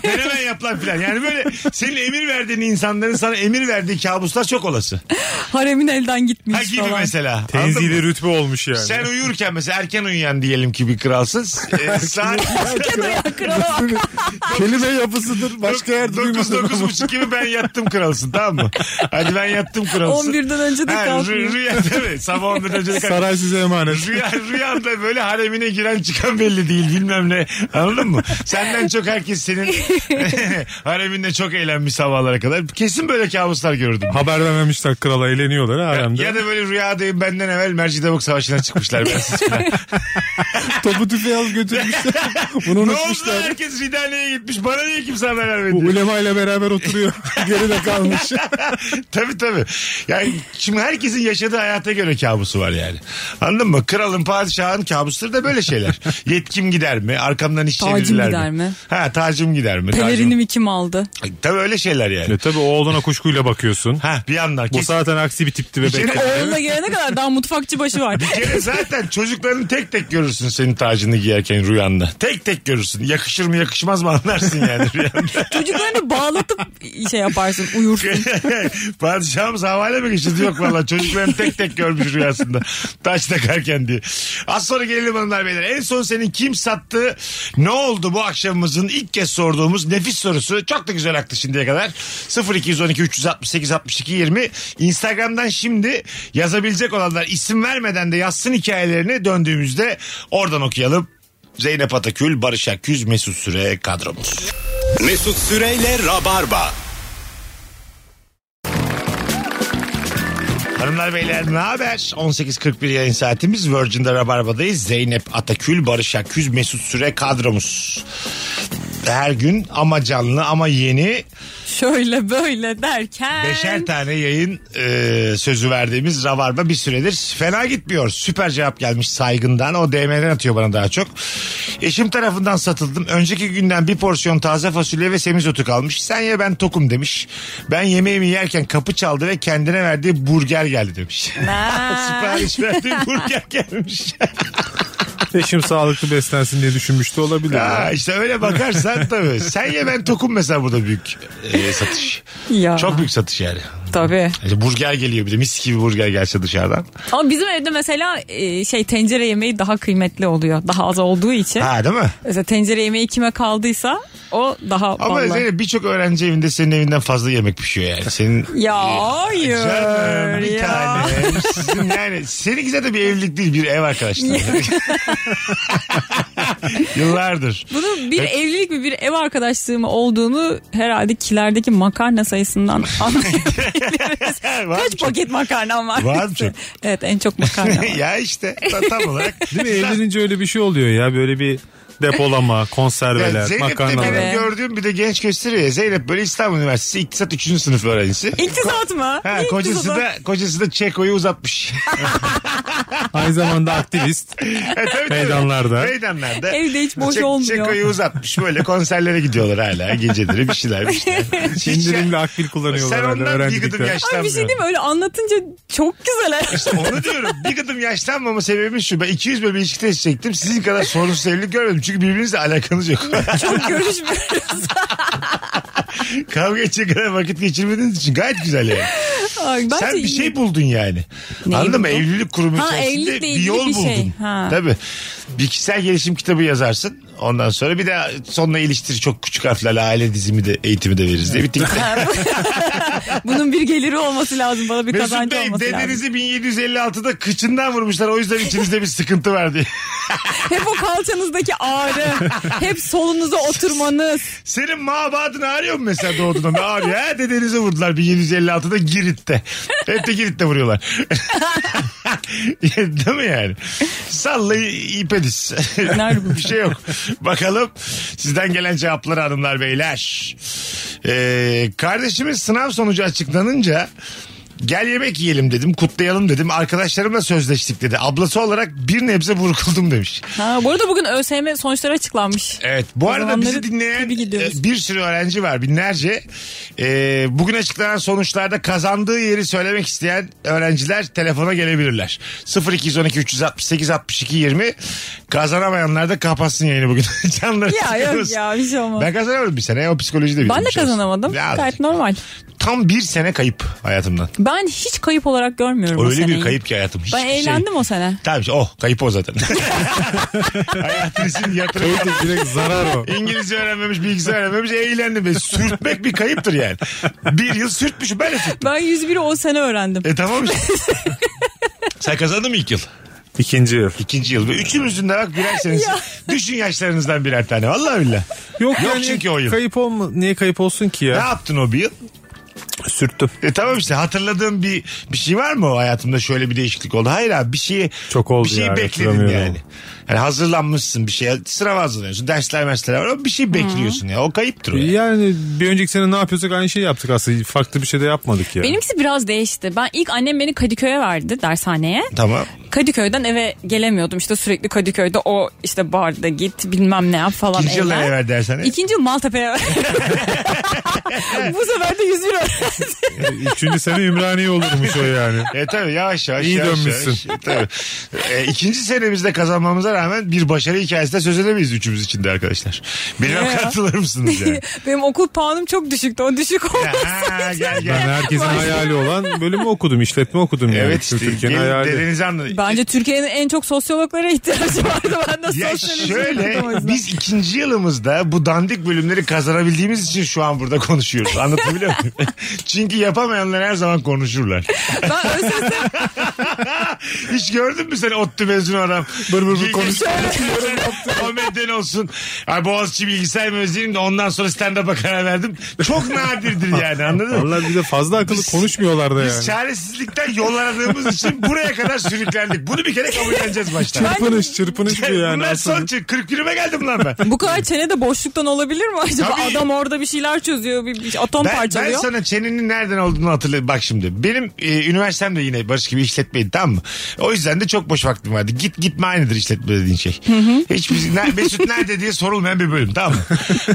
Speaker 1: ben hemen yap lan filan. Yani böyle senin emir verdiğin insanların sana emir verdiği kabuslar çok olası.
Speaker 2: Haremin elden gitmiş
Speaker 1: Ha gibi
Speaker 2: falan.
Speaker 1: mesela. Anladın mı?
Speaker 3: Tenzili rütbe olmuş yani.
Speaker 1: Sen uyurken mesela erken uyuyan diyelim ki bir kralsın. Ee, saat
Speaker 2: Krala bak.
Speaker 3: Kelime yapısıdır. Başka yerde
Speaker 1: dokuz,
Speaker 3: duymadım.
Speaker 1: dokuz buçuk gibi ben yattım kralsın tamam mı? Hadi ben yattım kralsın.
Speaker 2: 11'den önce de
Speaker 1: Ha, rü-
Speaker 2: kalkmıyor.
Speaker 1: rüya tabii. Sabah 11'den önce de kalk-
Speaker 3: Saray size emanet.
Speaker 1: Rüya, rüyanda böyle haremine giren çıkan belli değil bilmem ne anladın mı? Senden çok herkes senin hareminde çok eğlenmiş sabahlara kadar. Kesin böyle kabuslar görürdüm.
Speaker 3: Haber vermemişler krala eğleniyorlar haremde.
Speaker 1: Ya da böyle rüyadayım benden evvel Mercidabuk Savaşı'na çıkmışlar. bensiz falan.
Speaker 3: Topu tüfeği alıp götürmüşler. Bunu
Speaker 1: ne oldu lan?
Speaker 3: unutmuşlar.
Speaker 1: herkes Fidane'ye gitmiş bana niye kimse haber
Speaker 3: Bu
Speaker 1: vermedi?
Speaker 3: ulema ile beraber oturuyor. Geride kalmış.
Speaker 1: tabii tabii. Yani şimdi herkesin yaşadığı hayata göre kabusu var yani. Anladın mı? Kralın, padişahın kabusları da böyle şeyler. Yetkim gider mi? Arkamdan iş
Speaker 2: Tacım
Speaker 1: çevirirler
Speaker 2: gider mi?
Speaker 1: Ha tacım gider mi? Tacım-
Speaker 2: Pelerinimi kim aldı?
Speaker 1: Ay, Tabii öyle şeyler yani.
Speaker 3: E tabii oğluna kuşkuyla bakıyorsun.
Speaker 1: Ha bir yandan.
Speaker 3: Bu
Speaker 1: Kesin.
Speaker 3: zaten aksi bir tipti bebek.
Speaker 1: kere-
Speaker 2: Oğluna gelene kadar daha mutfakçı başı var.
Speaker 1: Bir kere zaten çocuklarını tek tek görürsün senin tacını giyerken rüyanda. Tek tek görürsün. Yakışır mı yakışmaz mı anlarsın yani rüyanda.
Speaker 2: Çocuklarını bağlatıp şey yaparsın uyursun.
Speaker 1: Padişahımız havale mi geçirdi? Yok valla çocuklarını tek tek görmüş rüyasında. Taş takarken diye. Az sonra gelelim hanımlar beyler. En son senin kim sattı? Ne oldu bu akşamımızın ilk kez sorduğumuz nefis sorusu. Çok da güzel aktı şimdiye kadar. 0212 368 62 20 Instagram'dan şimdi yazabilecek olanlar isim vermeden de yazsın hikayelerini döndüğümüzde oradan okuyalım. Zeynep Atakül, Barış Akküz, Mesut Süre kadromuz.
Speaker 7: Mesut Süreyle Rabarba.
Speaker 1: Hanımlar beyler ne haber? 18.41 yayın saatimiz Virgin'de Rabarba'dayız. Zeynep Atakül, Barış Akküz, Mesut Süre kadromuz. Her gün ama canlı ama yeni
Speaker 2: Şöyle böyle derken.
Speaker 1: beşer tane yayın e, sözü verdiğimiz Rabarba bir süredir fena gitmiyor. Süper cevap gelmiş saygından o DM'den atıyor bana daha çok. Eşim tarafından satıldım. Önceki günden bir porsiyon taze fasulye ve semizotu kalmış. Sen ye ben tokum demiş. Ben yemeğimi yerken kapı çaldı ve kendine verdiği burger geldi demiş.
Speaker 2: Ha.
Speaker 1: Sipariş verdiğim burger gelmiş.
Speaker 3: Eşim sağlıklı beslensin diye düşünmüştü olabilir.
Speaker 1: ya
Speaker 3: ya.
Speaker 1: işte öyle bakarsan tabii. Sen ye ben tokum mesela burada büyük e, satış.
Speaker 2: ya.
Speaker 1: Çok büyük satış yani.
Speaker 2: Tabii.
Speaker 1: İşte burger geliyor bir de mis gibi burger gelse dışarıdan.
Speaker 2: Ama bizim evde mesela e, şey tencere yemeği daha kıymetli oluyor. Daha az olduğu için.
Speaker 1: Ha değil mi?
Speaker 2: Mesela tencere yemeği kime kaldıysa o daha
Speaker 1: Ama
Speaker 2: vallahi.
Speaker 1: Zeynep birçok öğrenci evinde senin evinden fazla yemek pişiyor yani. Senin
Speaker 2: Ya hayır.
Speaker 1: Canım, bir
Speaker 2: ya.
Speaker 1: tane. Sizin yani seninki zaten bir evlilik değil bir ev arkadaşlığı. Yıllardır.
Speaker 2: Bunun bir evlilik mi bir ev arkadaşlığı mı olduğunu herhalde kilerdeki makarna sayısından anlayabiliriz.
Speaker 1: Var mı
Speaker 2: Kaç
Speaker 1: çok?
Speaker 2: paket makarnam var?
Speaker 1: Var mı çok?
Speaker 2: Evet en çok makarna var.
Speaker 1: ya işte ta- tam olarak.
Speaker 3: Değil mi? Evlenince öyle bir şey oluyor ya. Böyle bir depolama, konserveler,
Speaker 1: Yani Zeynep de
Speaker 3: makarnalar.
Speaker 1: benim
Speaker 2: Evet.
Speaker 1: gördüğüm bir de genç gösteriyor ya. Zeynep böyle İstanbul Üniversitesi İktisat 3. sınıf öğrencisi.
Speaker 2: İktisat mı?
Speaker 1: Ha,
Speaker 2: İktisat
Speaker 1: kocası
Speaker 2: mı?
Speaker 1: da kocası da Çeko'yu uzatmış.
Speaker 3: Aynı zamanda aktivist.
Speaker 1: E, tabii, tabii.
Speaker 3: Meydanlarda.
Speaker 1: Meydanlarda.
Speaker 2: Evde hiç boş olmuyor.
Speaker 1: Çeko'yu uzatmış böyle konserlere gidiyorlar hala. Geceleri bir şeyler bir şeyler. Hiç ya-
Speaker 3: İndirimli akbil kullanıyorlar.
Speaker 1: Sen
Speaker 3: herhalde
Speaker 1: ondan bir gıdım
Speaker 3: öğrendikten.
Speaker 2: Ay
Speaker 1: yaşlanmıyor.
Speaker 2: bir şey diyeyim mi? Öyle anlatınca çok güzel.
Speaker 1: Onu diyorum. Bir gıdım yaşlanmama sebebi şu. Ben 200 bölü ilişki testi çektim. Sizin kadar sorunsuz evlilik görmedim. Çünkü birbirinizle alakanız yok.
Speaker 2: çok görüşmüyoruz.
Speaker 1: Kavga edecek kadar vakit geçirmediğiniz için gayet güzel yani.
Speaker 2: Ay, bence
Speaker 1: Sen bir
Speaker 2: iyi.
Speaker 1: şey buldun yani.
Speaker 2: Neyi
Speaker 1: Anladın mı?
Speaker 2: buldum?
Speaker 1: Evlilik kurumu
Speaker 2: Ha,
Speaker 1: içerisinde
Speaker 2: evlilikle
Speaker 1: bir
Speaker 2: ilgili
Speaker 1: yol
Speaker 2: bir şey.
Speaker 1: buldun.
Speaker 2: Ha.
Speaker 1: Tabii. Bir kişisel gelişim kitabı yazarsın. Ondan sonra bir de sonuna iliştir çok küçük harflerle aile dizimi de eğitimi de veririz diye bitti.
Speaker 2: Bunun bir geliri olması lazım. Bana bir
Speaker 1: Mesut
Speaker 2: kazancı
Speaker 1: Bey
Speaker 2: olması lazım.
Speaker 1: dedenizi 1756'da kıçından vurmuşlar. O yüzden içinizde bir sıkıntı var diye.
Speaker 2: Hep o kalçanızdaki ağrı. hep solunuza oturmanız.
Speaker 1: Senin mabadın ağrıyor mu mesela doğduğunda? Ne ağrıyor? Ha dedenizi vurdular 1756'da Girit'te. Hep de Girit'te vuruyorlar. Değil mi yani? Sallayı ipediz.
Speaker 2: Nerede bu?
Speaker 1: Bir şey yok. Bakalım sizden gelen cevapları hanımlar beyler. Ee, kardeşimin sınav sonucu açıklanınca Gel yemek yiyelim dedim, kutlayalım dedim. Arkadaşlarımla sözleştik dedi. Ablası olarak bir nebze burkuldum demiş.
Speaker 2: Ha, bu arada bugün ÖSYM sonuçları açıklanmış.
Speaker 1: Evet bu arada bizi
Speaker 2: zamanları
Speaker 1: dinleyen
Speaker 2: tebrik ediyoruz.
Speaker 1: e, bir sürü öğrenci var binlerce. E, bugün açıklanan sonuçlarda kazandığı yeri söylemek isteyen öğrenciler telefona gelebilirler. 0212 368 62 20 kazanamayanlar da kapatsın yayını bugün. Canları
Speaker 2: Ya yok
Speaker 1: sıkıyoruz.
Speaker 2: ya bir şey olmaz.
Speaker 1: Ben kazanamadım bir sene o psikolojide
Speaker 2: Ben de
Speaker 1: bitirmiş olsun.
Speaker 2: kazanamadım.
Speaker 1: Ya,
Speaker 2: Gayet normal.
Speaker 1: Tam bir sene kayıp hayatımdan.
Speaker 2: Ben hiç kayıp olarak görmüyorum o
Speaker 1: Öyle
Speaker 2: seneyi.
Speaker 1: bir kayıp ki hayatım. Hiçbir
Speaker 2: Ben
Speaker 1: şey-
Speaker 2: eğlendim o sene.
Speaker 1: Tabii oh kayıp o zaten. Hayatınızın yatırım
Speaker 3: Direkt- Direkt zarar o.
Speaker 1: İngilizce öğrenmemiş, bilgisayar öğrenmemiş, eğlendim. E, sürtmek bir kayıptır yani. Bir yıl sürtmüşüm ben de sürttüm.
Speaker 2: Ben 101'i o sene öğrendim.
Speaker 1: E tamam işte. Sen kazandın mı ilk yıl?
Speaker 3: İkinci yıl.
Speaker 1: İkinci yıl. Ve üçümüzün de bak birer senesi. Düşün yaşlarınızdan birer tane. Vallahi billah.
Speaker 3: Yok,
Speaker 1: Yok
Speaker 3: yani
Speaker 1: çünkü o yıl.
Speaker 3: Kayıp olma. Niye kayıp olsun ki
Speaker 1: Ne
Speaker 3: ya?
Speaker 1: yaptın o bir yıl?
Speaker 3: Sürttüm.
Speaker 1: E tamam işte hatırladığın bir bir şey var mı o hayatımda şöyle bir değişiklik oldu? Hayır abi bir şeyi
Speaker 3: Çok oldu
Speaker 1: bir şeyi
Speaker 3: yani,
Speaker 1: bekledin
Speaker 3: hatırlamıyorum.
Speaker 1: yani. Yani hazırlanmışsın bir şeye sınava hazırlanıyorsun dersler mesler var ama bir şey bekliyorsun ya o kayıptır o. yani.
Speaker 3: Yani bir önceki sene ne yapıyorsak aynı şeyi yaptık aslında. Farklı bir şey de yapmadık ya.
Speaker 2: Benimkisi biraz değişti. Ben ilk annem beni Kadıköy'e verdi dershaneye.
Speaker 1: Tamam.
Speaker 2: Kadıköy'den eve gelemiyordum. İşte sürekli Kadıköy'de o işte barda git bilmem ne yap falan.
Speaker 1: İkinci yıl
Speaker 2: eğlen.
Speaker 1: nereye verdi dershaneye?
Speaker 2: İkinci yıl Maltepe'ye verdi. Bu sefer de 101 öğrendim.
Speaker 3: Üçüncü sene Ümraniye olurmuş o yani.
Speaker 1: E tabii yavaş yavaş.
Speaker 3: İyi
Speaker 1: yavaş
Speaker 3: dönmüşsün.
Speaker 1: Yavaş. E, tabii. E, ikinci senemizde kazanmamıza rağmen bir başarı hikayesinden söz edemeyiz üçümüz içinde arkadaşlar. Benim
Speaker 2: Ya.
Speaker 1: katılır mısınız yani?
Speaker 2: Benim okul puanım çok düşüktü. O düşük
Speaker 1: ha, gel
Speaker 2: olmasaydı.
Speaker 3: Ben
Speaker 1: gel.
Speaker 3: herkesin hayali olan bölümü okudum, işletme okudum yani.
Speaker 1: Evet işte
Speaker 3: Türkiye'nin
Speaker 1: gelin
Speaker 3: hayali.
Speaker 1: dedenizi anladım.
Speaker 2: Bence Türkiye'nin en çok sosyologlara ihtiyacı vardı. Ben de
Speaker 1: Ya
Speaker 2: sosyoloji
Speaker 1: şöyle
Speaker 2: okudum o yüzden.
Speaker 1: biz ikinci yılımızda bu dandik bölümleri kazanabildiğimiz için şu an burada konuşuyoruz. Anlatabiliyor muyum? Çünkü yapamayanlar her zaman konuşurlar.
Speaker 2: Ben ÖSS
Speaker 1: Hiç gördün mü sen ODTÜ mezunu adam? Bır bır bır konuşuyor. Komedyen olsun. Ay Boğaziçi bilgisayar mezunuyum da ondan sonra stand-up'a karar verdim. Çok nadirdir yani anladın mı?
Speaker 3: Vallahi bir de fazla akıllı
Speaker 1: Biz-
Speaker 3: konuşmuyorlar da yani.
Speaker 1: Biz çaresizlikten yol aradığımız için buraya kadar sürüklendik. Bunu bir kere kabulleneceğiz baştan.
Speaker 3: Çırpınış çırpınış bu yani
Speaker 1: Bunlar
Speaker 3: aslında.
Speaker 1: son çık. 40 yürüme geldim lan ben.
Speaker 2: bu kadar çene de boşluktan olabilir mi acaba?
Speaker 1: Tabii.
Speaker 2: Adam orada bir şeyler çözüyor, bir, bir atom
Speaker 1: Ben, ben
Speaker 2: parçalıyor.
Speaker 1: sana çenenin nereden olduğunu hatırladım. Bak şimdi benim e, üniversitemde yine Barış gibi işletmeydi tamam mı? O yüzden de çok boş vaktim vardı. Git gitme aynıdır işletme dediğin şey. Hiç biz, ne, Mesut nerede diye sorulmayan bir bölüm tamam mı?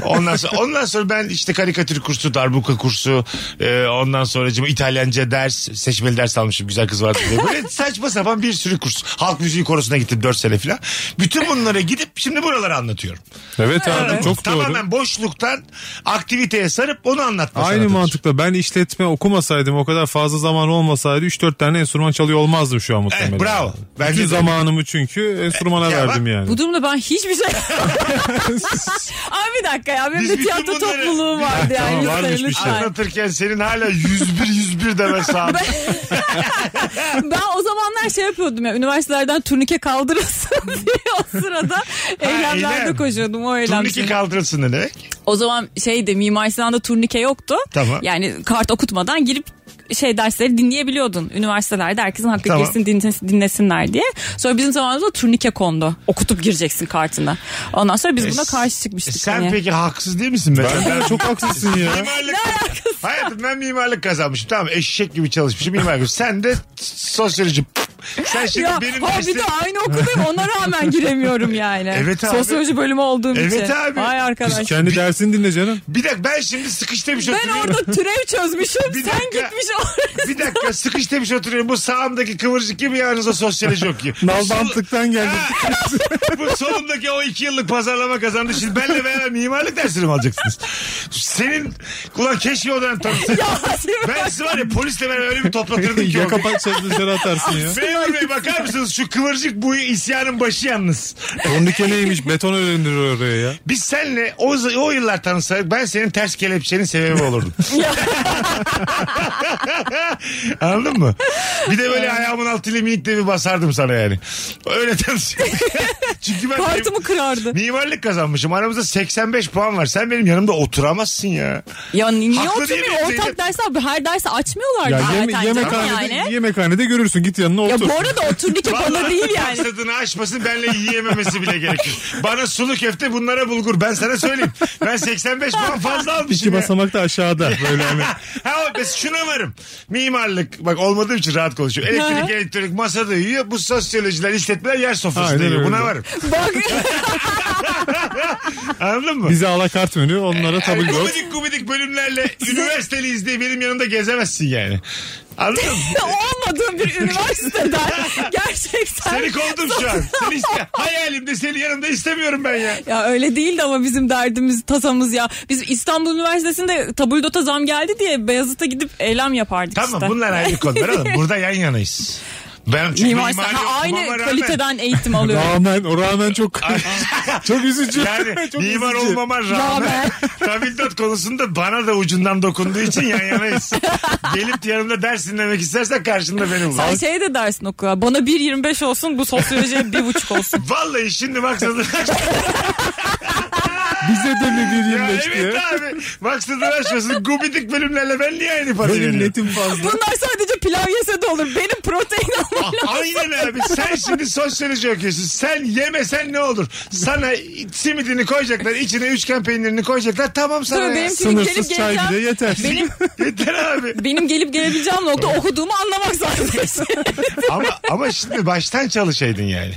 Speaker 1: Ondan sonra, ondan sonra ben işte karikatür kursu, darbuka kursu, e, ondan sonra İtalyanca ders, seçmeli ders almışım güzel kız vardı diye. Böyle saçma sapan bir sürü kurs. Halk müziği korosuna gittim 4 sene falan. Bütün bunlara gidip şimdi buraları anlatıyorum.
Speaker 3: Evet abi çok doğru.
Speaker 1: Tamamen boşluktan aktiviteye sarıp onu anlatma
Speaker 3: Aynı
Speaker 1: sanatıdır.
Speaker 3: mantıkla ben işletme okumasaydım o kadar fazla zaman olmasaydı 3-4 tane enstrüman çalıyor olmazdım şu an muhtemelen.
Speaker 1: Evet, Eh, bravo. Bence
Speaker 3: Bütün
Speaker 1: de.
Speaker 3: zamanımı çünkü enstrümana
Speaker 1: Ya bak,
Speaker 3: verdim yani.
Speaker 2: Bu durumda ben hiçbir şey... Abi bir dakika ya benim
Speaker 1: Biz
Speaker 2: de
Speaker 1: bütün
Speaker 2: tiyatro
Speaker 1: bunları-
Speaker 2: topluluğu vardı yani.
Speaker 3: Tamam,
Speaker 2: lütfen,
Speaker 3: varmış bir şey.
Speaker 2: lütfen.
Speaker 1: anlatırken senin hala 101 101 deme sağlık.
Speaker 2: Ben o zamanlar şey yapıyordum ya üniversitelerden turnike kaldırılsın diye o sırada eylemlerde
Speaker 1: eylem.
Speaker 2: koşuyordum o eylemde.
Speaker 1: Turnike kaldırılsın ne demek?
Speaker 2: O zaman şeyde Mimar Sinan'da turnike yoktu.
Speaker 1: Tamam.
Speaker 2: Yani kart okutmadan girip şey dersleri dinleyebiliyordun. Üniversitelerde herkesin hakkı
Speaker 1: Tamam.
Speaker 2: girsin dinlesin- dinlesinler diye. Sonra bizim zamanımızda turnike kondu. Okutup gireceksin kartına. Ondan sonra biz buna karşı çıkmıştık.
Speaker 1: E, Sen
Speaker 2: hani.
Speaker 1: peki haksız değil misin? Ben,
Speaker 3: Ben çok haklısın ya.
Speaker 1: mimarlık... Hayatım ben mimarlık kazanmışım. Tamam eşek gibi çalışmışım mimarlık. Sen de sosyoloji. Sen şimdi
Speaker 2: ya,
Speaker 1: benim
Speaker 2: ha,
Speaker 1: dersi-
Speaker 2: bir de aynı okuldayım ona rağmen giremiyorum yani.
Speaker 1: Evet abi.
Speaker 2: Sosyoloji bölümü olduğum
Speaker 1: Evet
Speaker 2: için.
Speaker 1: abi.
Speaker 2: Vay
Speaker 3: Kız
Speaker 2: arkadaş.
Speaker 3: kendi dersini dinle canım.
Speaker 1: Bir dakika ben şimdi sıkıştırmış
Speaker 2: Ben
Speaker 1: oturuyorum.
Speaker 2: orada türev çözmüşüm.
Speaker 1: Bir
Speaker 2: sen
Speaker 1: dakika.
Speaker 2: gitmiş oraya.
Speaker 1: Bir dakika sıkıştırmış oturuyorum. Bu sağımdaki kıvırcık gibi yanınıza sosyoloji okuyor.
Speaker 3: Nalbantlıktan geldim.
Speaker 1: Bu solumdaki o iki yıllık pazarlama kazandı. Şimdi benle beraber mimarlık dersini mi alacaksınız? Senin ulan keşke o dönem tanışsaydım. Ben sizi var ya polisle ben öyle bir toplatırdım ki. o
Speaker 3: Yaka
Speaker 1: gün.
Speaker 3: parçası dışarı atarsın ya.
Speaker 1: Memur Bey bakar mısınız şu kıvırcık bu isyanın başı yalnız.
Speaker 3: Turnike neymiş beton öründürüyor oraya ya.
Speaker 1: Biz seninle o, o yıllar tanışsaydık ben senin ters kelepçenin sebebi olurdum. Anladın mı? Bir de böyle ayağımın altıyla minik de bir basardım sana yani. Öyle tanışıyorduk. Çünkü ben
Speaker 2: Kartımı kırardı.
Speaker 1: Mimarlık kazanmışım. Aramızda 85 puan var. Sen benim yanımda oturamazsın ya.
Speaker 2: Ya ni- niye
Speaker 1: Haklı
Speaker 2: oturmuyor?
Speaker 1: değil mi?
Speaker 2: Ortak dersi abi her dersi açmıyorlar
Speaker 3: Ya
Speaker 2: zaten
Speaker 3: yeme-
Speaker 2: canım
Speaker 3: yemekhanede,
Speaker 2: yani.
Speaker 3: yemekhanede görürsün git yanına
Speaker 2: Ya
Speaker 3: otur.
Speaker 2: bu arada o turnike bana değil yani.
Speaker 1: Maksadını aşmasın benle yiyememesi bile gerekir. Bana sulu köfte bunlara bulgur. Ben sana söyleyeyim. Ben 85 puan fazla
Speaker 3: İki
Speaker 1: almışım ya.
Speaker 3: basamak da aşağıda böyle hani.
Speaker 1: ha, bak, biz şuna varım. Mimarlık bak olmadığı için rahat konuşuyor. Elektrik
Speaker 2: Ha.
Speaker 1: elektronik masada yiyor. Bu sosyolojiler işletmeler yer sofrasında
Speaker 3: Aynen
Speaker 1: yiyor. Buna
Speaker 3: öyle.
Speaker 1: varım.
Speaker 2: Bak
Speaker 1: Anladın mı?
Speaker 3: Bize alakart menü onlara
Speaker 1: Yani
Speaker 3: tabul yok.
Speaker 1: Gubidik gubidik bölümlerle üniversiteliyiz diye benim yanımda gezemezsin yani. Anladın mı?
Speaker 2: olmadığım bir üniversiteden gerçekten.
Speaker 1: Seni kovdum şu an. Seni iste- hayalimde seni yanımda istemiyorum ben ya.
Speaker 2: Ya öyle değildi ama bizim derdimiz tasamız ya. Biz İstanbul Üniversitesi'nde tabuldota zam geldi diye Beyazıt'a gidip eylem yapardık
Speaker 1: Tamam
Speaker 2: işte.
Speaker 1: bunlar ayrı konular oğlum. Burada yan yanayız. Ben çünkü
Speaker 2: Mimar Sinan-
Speaker 1: mimari
Speaker 2: Ha,
Speaker 1: okumama
Speaker 2: aynı
Speaker 1: rağmen-
Speaker 2: kaliteden eğitim alıyorum.
Speaker 3: Rağmen, o rağmen çok çok üzücü.
Speaker 1: Yani
Speaker 3: çok
Speaker 1: mimar
Speaker 3: üzücü.
Speaker 1: olmama rağmen
Speaker 2: Rağmen.
Speaker 1: tabildot konusunda bana da ucundan dokunduğu için yan yanayız. Gelip yanımda ders dinlemek istersen karşında beni bul.
Speaker 2: Sen şey de dersin okula. Bana 1.25 olsun bu sosyolojiye 1.5 olsun.
Speaker 1: Vallahi şimdi maksadını
Speaker 3: Bize de mi bir
Speaker 1: ya
Speaker 3: 25 diye.
Speaker 1: evet abi maksadını aşmasın. Gubidik bölümlerle ben niye aynı parayı
Speaker 3: Benim
Speaker 1: veriyorum?
Speaker 3: netim fazla.
Speaker 2: Bunlar sadece pilav yese de olur. Benim protein almam
Speaker 1: A- Ah, Aynen abi. Sen şimdi sosyoloji okuyorsun. Sen yemesen ne olur? Sana simidini koyacaklar. içine üçgen peynirini koyacaklar. Tamam sana ya.
Speaker 2: Tabii benim çünkü
Speaker 3: Sınırsız
Speaker 2: gelip
Speaker 3: çay
Speaker 2: geleceğim.
Speaker 3: bile yeter.
Speaker 2: Benim
Speaker 1: Yeter abi.
Speaker 2: benim gelip gelebileceğim nokta okuduğumu anlamak zaten.
Speaker 1: ama, ama şimdi baştan çalışaydın yani.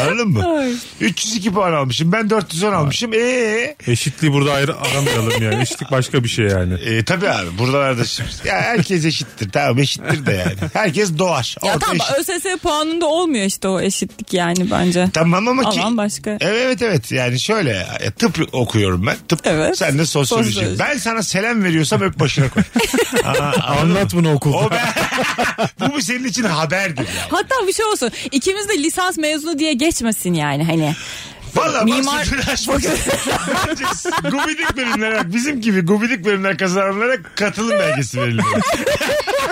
Speaker 1: Anladın mı? 302 puan almışım. Ee? Ben 410 almışım. Eee ve
Speaker 3: Eşitliği burada ayrı aramayalım yani. Eşitlik başka bir şey yani.
Speaker 1: e, tabii abi buralarda şimdi- ya herkes eşittir tamam eşittir de yani. Herkes doğar.
Speaker 2: Ya
Speaker 1: Orta
Speaker 2: tamam
Speaker 1: eşit.
Speaker 2: ÖSS puanında olmuyor işte o eşitlik yani bence.
Speaker 1: Tamam ama ki
Speaker 2: Alan başka.
Speaker 1: Evet evet evet yani şöyle e, tıp okuyorum ben. Tıp
Speaker 2: Evet.
Speaker 1: sen de sosyoloji.
Speaker 2: Sosyoloji.
Speaker 1: Ben sana selam veriyorsam öp başına koy. Aa, anladın mı?
Speaker 3: Anlat bunu okulda.
Speaker 1: O ben, bu bir senin için haberdir yani.
Speaker 2: Hatta bir şey olsun. İkimiz de lisans mezunu diye geçmesin yani hani.
Speaker 1: Valla
Speaker 2: Mimar-
Speaker 1: Mimar... açmak Bence gubidik bölümlere bak. Bizim gibi gubidik bölümler kazananlara katılım belgesi verilir.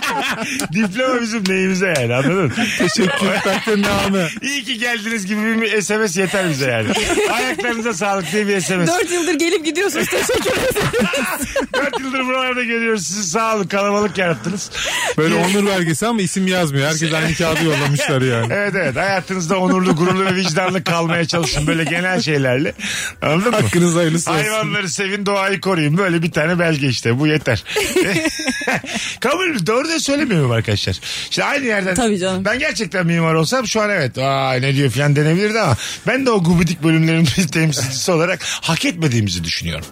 Speaker 1: Diploma bizim neyimize yani anladın mı?
Speaker 3: Teşekkür takdir namı.
Speaker 1: İyi ki geldiniz gibi bir SMS yeter bize yani. Ayaklarınıza sağlık diye bir SMS.
Speaker 2: Dört yıldır gelip gidiyorsunuz teşekkür ederim.
Speaker 1: 4 yıldır buralarda görüyoruz sizi sağ olun kalabalık yarattınız.
Speaker 3: Böyle onur vergesi ama isim yazmıyor. Herkes aynı kağıdı yollamışlar yani.
Speaker 1: Evet evet hayatınızda onurlu gururlu ve vicdanlı kalmaya çalışın böyle genel şeylerle. Anladın mı?
Speaker 3: Hakkınız hayırlısı olsun.
Speaker 1: Hayvanları sevin doğayı koruyun. Böyle bir tane belge işte bu yeter. Kabul mü? Doğru da söylemiyorum arkadaşlar. İşte aynı yerden.
Speaker 2: Tabii canım.
Speaker 1: Ben gerçekten mimar olsam şu an evet aa ne diyor falan denebilirdi ama ben de o gubidik bölümlerin bir temsilcisi olarak hak etmediğimizi düşünüyorum.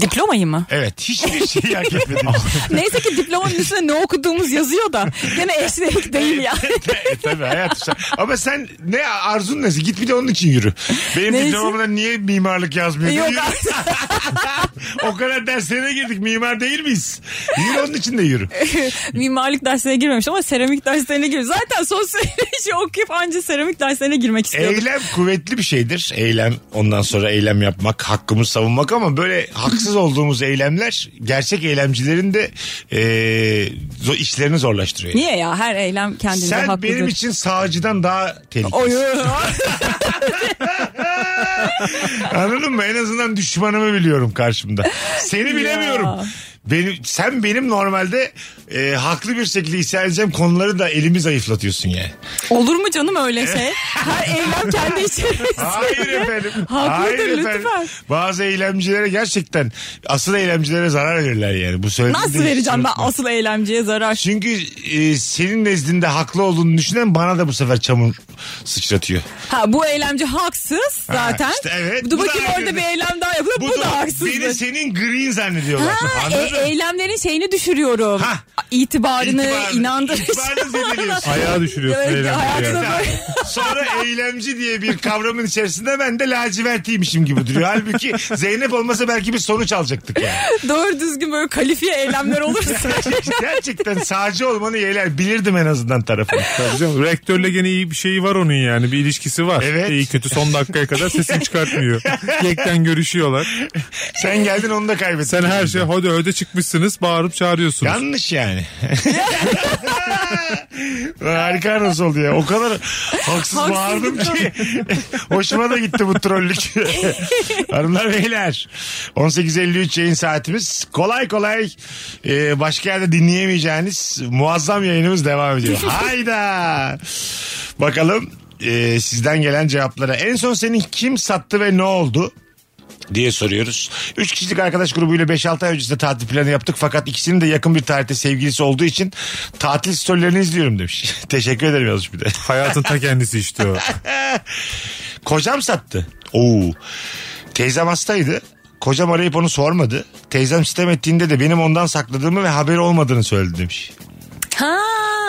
Speaker 2: Diplomayı mı?
Speaker 1: Evet hiçbir şeyi hak etmediğimizi
Speaker 2: Neyse ki diplomanın üstüne ne okuduğumuz yazıyor da. Gene eşlik değil ya.
Speaker 1: E, Tabii hayatım sen. Ama sen ne arzun neyse git bir de onun için yürü. Benim
Speaker 2: Neyse.
Speaker 1: diplomamda niye mimarlık yazmıyor? diye
Speaker 2: Yok
Speaker 1: yürü. o kadar derslere girdik mimar değil miyiz? Yürü onun için de
Speaker 2: E,
Speaker 1: yürü.
Speaker 2: Mimarlık dersine girmemiş ama seramik derslerine girmiş. Zaten sosyoloji okuyup anca seramik derslerine girmek istiyordum.
Speaker 1: Eylem kuvvetli bir şeydir. Eylem ondan sonra eylem yapmak, hakkımızı savunmak ama böyle haksız olduğumuz eylemler gerçek eylemcilerin de e, zo- işlerini zorlaştırıyor.
Speaker 2: Niye ya? Her eylem kendinde
Speaker 1: Sen
Speaker 2: haklıdır.
Speaker 1: benim için sağcıdan daha tehlikelisin.
Speaker 2: Oy.
Speaker 1: Anladın mı? En azından düşmanımı biliyorum karşımda. Seni bilemiyorum. Benim, sen benim normalde e, haklı bir şekilde isyan edeceğim konuları da elimi zayıflatıyorsun yani.
Speaker 2: Olur mu canım öyle şey? Her eylem kendi içerisinde.
Speaker 1: Hayır efendim.
Speaker 2: Haklıdır,
Speaker 1: Hayır
Speaker 2: lütfen.
Speaker 1: Bazı eylemcilere gerçekten asıl eylemcilere zarar verirler yani. Bu söylediğim
Speaker 2: Nasıl
Speaker 1: de-
Speaker 2: vereceğim ben asıl eylemciye zarar?
Speaker 1: Çünkü e, senin nezdinde haklı olduğunu düşünen bana da bu sefer çamur sıçratıyor.
Speaker 2: Ha bu eylemci haksız zaten.
Speaker 1: işte evet,
Speaker 2: Dur
Speaker 1: bu da
Speaker 2: bakayım
Speaker 1: aynı.
Speaker 2: orada bir eylem daha yapılıyor. Bu, da haksız.
Speaker 1: Beni senin green zannediyorlar.
Speaker 2: Ha,
Speaker 1: Anladın mı?
Speaker 2: e- eylemlerin şeyini düşürüyorum.
Speaker 1: Ha.
Speaker 2: İtibarını,
Speaker 1: İtibarını-
Speaker 2: inandırıyorum.
Speaker 1: itibarını zedeliyorsun.
Speaker 3: Ayağa düşürüyorsun
Speaker 2: Evet,
Speaker 3: eğlenceli
Speaker 2: hayatına
Speaker 3: yani.
Speaker 2: böyle-
Speaker 1: Sonra eylemci diye bir kavramın içerisinde ben de lacivertiymişim gibi duruyor. Halbuki Zeynep olmasa belki bir sonuç alacaktık yani.
Speaker 2: Doğru düzgün böyle kalifiye eylemler olursa.
Speaker 1: Gerçekten sağcı olmanı yeğler. Bilirdim en azından tarafını.
Speaker 3: Tabii canım, Rektörle gene iyi bir şeyi var onun yani. Bir ilişkisi var.
Speaker 1: Evet.
Speaker 3: İyi kötü son dakikaya kadar sesini çıkartmıyor. Yekten görüşüyorlar.
Speaker 1: Sen geldin onu da kaybettin.
Speaker 3: Sen her şey hadi öde çıkmışsınız bağırıp çağırıyorsunuz.
Speaker 1: Yanlış yani. Harika nasıl oldu ya. O kadar haksız
Speaker 2: Haksız.
Speaker 1: bağırdım ki. Hoşuma da gitti bu trollük. Hanımlar beyler. 18.53 yayın saatimiz. Kolay kolay e, başka yerde dinleyemeyeceğiniz muazzam yayınımız devam ediyor. Hayda. Bakalım e, sizden gelen cevaplara. En son senin kim sattı ve ne oldu? diye soruyoruz. 3 kişilik arkadaş grubuyla 5-6 ay öncesinde tatil planı yaptık fakat ikisinin de yakın bir tarihte sevgilisi olduğu için tatil storylerini izliyorum demiş. Teşekkür ederim yazmış bir de.
Speaker 3: Hayatın ta kendisi işte o.
Speaker 1: Kocam sattı. Oo. Teyzem hastaydı. Kocam arayıp onu sormadı. Teyzem sistem ettiğinde de benim ondan sakladığımı ve haberi olmadığını söyledi demiş.
Speaker 2: ha,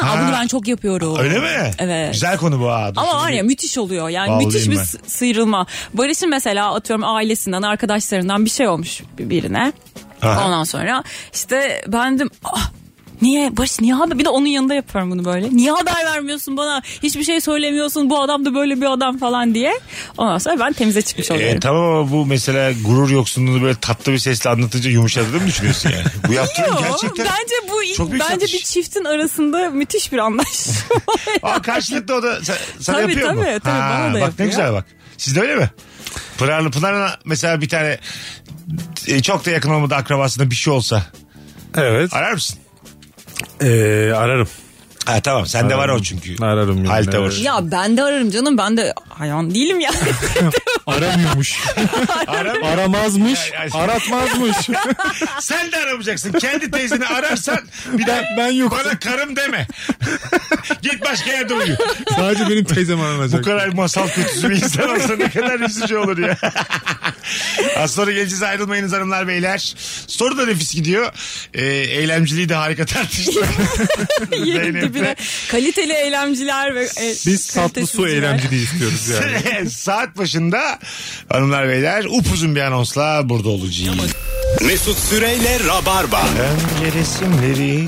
Speaker 1: Ha.
Speaker 2: ha. Bunu ben çok yapıyorum.
Speaker 1: Öyle mi?
Speaker 2: Evet.
Speaker 1: Güzel konu bu ha. Dur
Speaker 2: Ama
Speaker 1: şunu
Speaker 2: var ya
Speaker 1: bir-
Speaker 2: müthiş oluyor. Yani
Speaker 1: Vallahi
Speaker 2: müthiş bir
Speaker 1: ben.
Speaker 2: sı- sıyrılma. Barış'ın mesela atıyorum ailesinden, arkadaşlarından bir şey olmuş bir- birine.
Speaker 1: Aha.
Speaker 2: Ondan sonra işte ben de "Ah, Niye Barış niye haber? Bir de onun yanında yapıyorum bunu böyle. Niye haber vermiyorsun bana? Hiçbir şey söylemiyorsun. Bu adam da böyle bir adam falan diye. Ondan sonra ben temize çıkmış
Speaker 1: E,
Speaker 2: oluyorum.
Speaker 1: tamam ama bu mesela gurur yoksunluğunu böyle tatlı bir sesle anlatınca yumuşadığını mı düşünüyorsun yani? Bu yaptığın
Speaker 2: Yok,
Speaker 1: gerçekten...
Speaker 2: Bence bu
Speaker 1: çok büyük
Speaker 2: bence
Speaker 1: satış.
Speaker 2: bir çiftin arasında müthiş bir anlaşma.
Speaker 1: Aa, karşılıklı o da sa- sana
Speaker 2: Tabii,
Speaker 1: yapıyor mu?
Speaker 2: tabii, tabii,
Speaker 1: Ha,
Speaker 2: bana da
Speaker 1: Bak ne
Speaker 2: yapıyor.
Speaker 1: güzel bak. Sizde öyle mi? Pınar'la Pınar'la mesela bir tane e, çok da yakın olmadığı akrabasında bir şey olsa
Speaker 3: Evet.
Speaker 1: arar mısın?
Speaker 3: Ee, ararım.
Speaker 1: Ha tamam sende var o çünkü.
Speaker 3: Ararım yani,
Speaker 1: Halte var.
Speaker 3: evet.
Speaker 2: Ya ben de ararım canım ben de hayvan değilim ya.
Speaker 3: Aramıyormuş.
Speaker 1: Aram-
Speaker 3: Aramazmış.
Speaker 1: Ya, ya.
Speaker 3: Aratmazmış.
Speaker 1: Sen de aramayacaksın. Kendi teyzeni ararsan bir de
Speaker 3: Ben- ben yokum.
Speaker 1: bana karım deme. Git başka yerde uyu.
Speaker 3: Sadece benim teyzem aranacak.
Speaker 1: Bu kadar masal kötüsü bir insan olsa ne kadar üzücü olur ya. Az sonra geleceğiz ayrılmayınız hanımlar beyler. Soru da nefis gidiyor. Ee, eylemciliği de harika tartıştık.
Speaker 2: Yerin
Speaker 1: Zeynep de.
Speaker 2: dibine. Kaliteli eylemciler ve e,
Speaker 3: Biz tatlı su
Speaker 2: kalitesizciler.
Speaker 3: eylemciliği istiyoruz yani.
Speaker 1: Saat başında hanımlar beyler upuzun bir anonsla burada olacağız.
Speaker 7: Mesut Süreyle Rabarba.
Speaker 1: Önce resimleri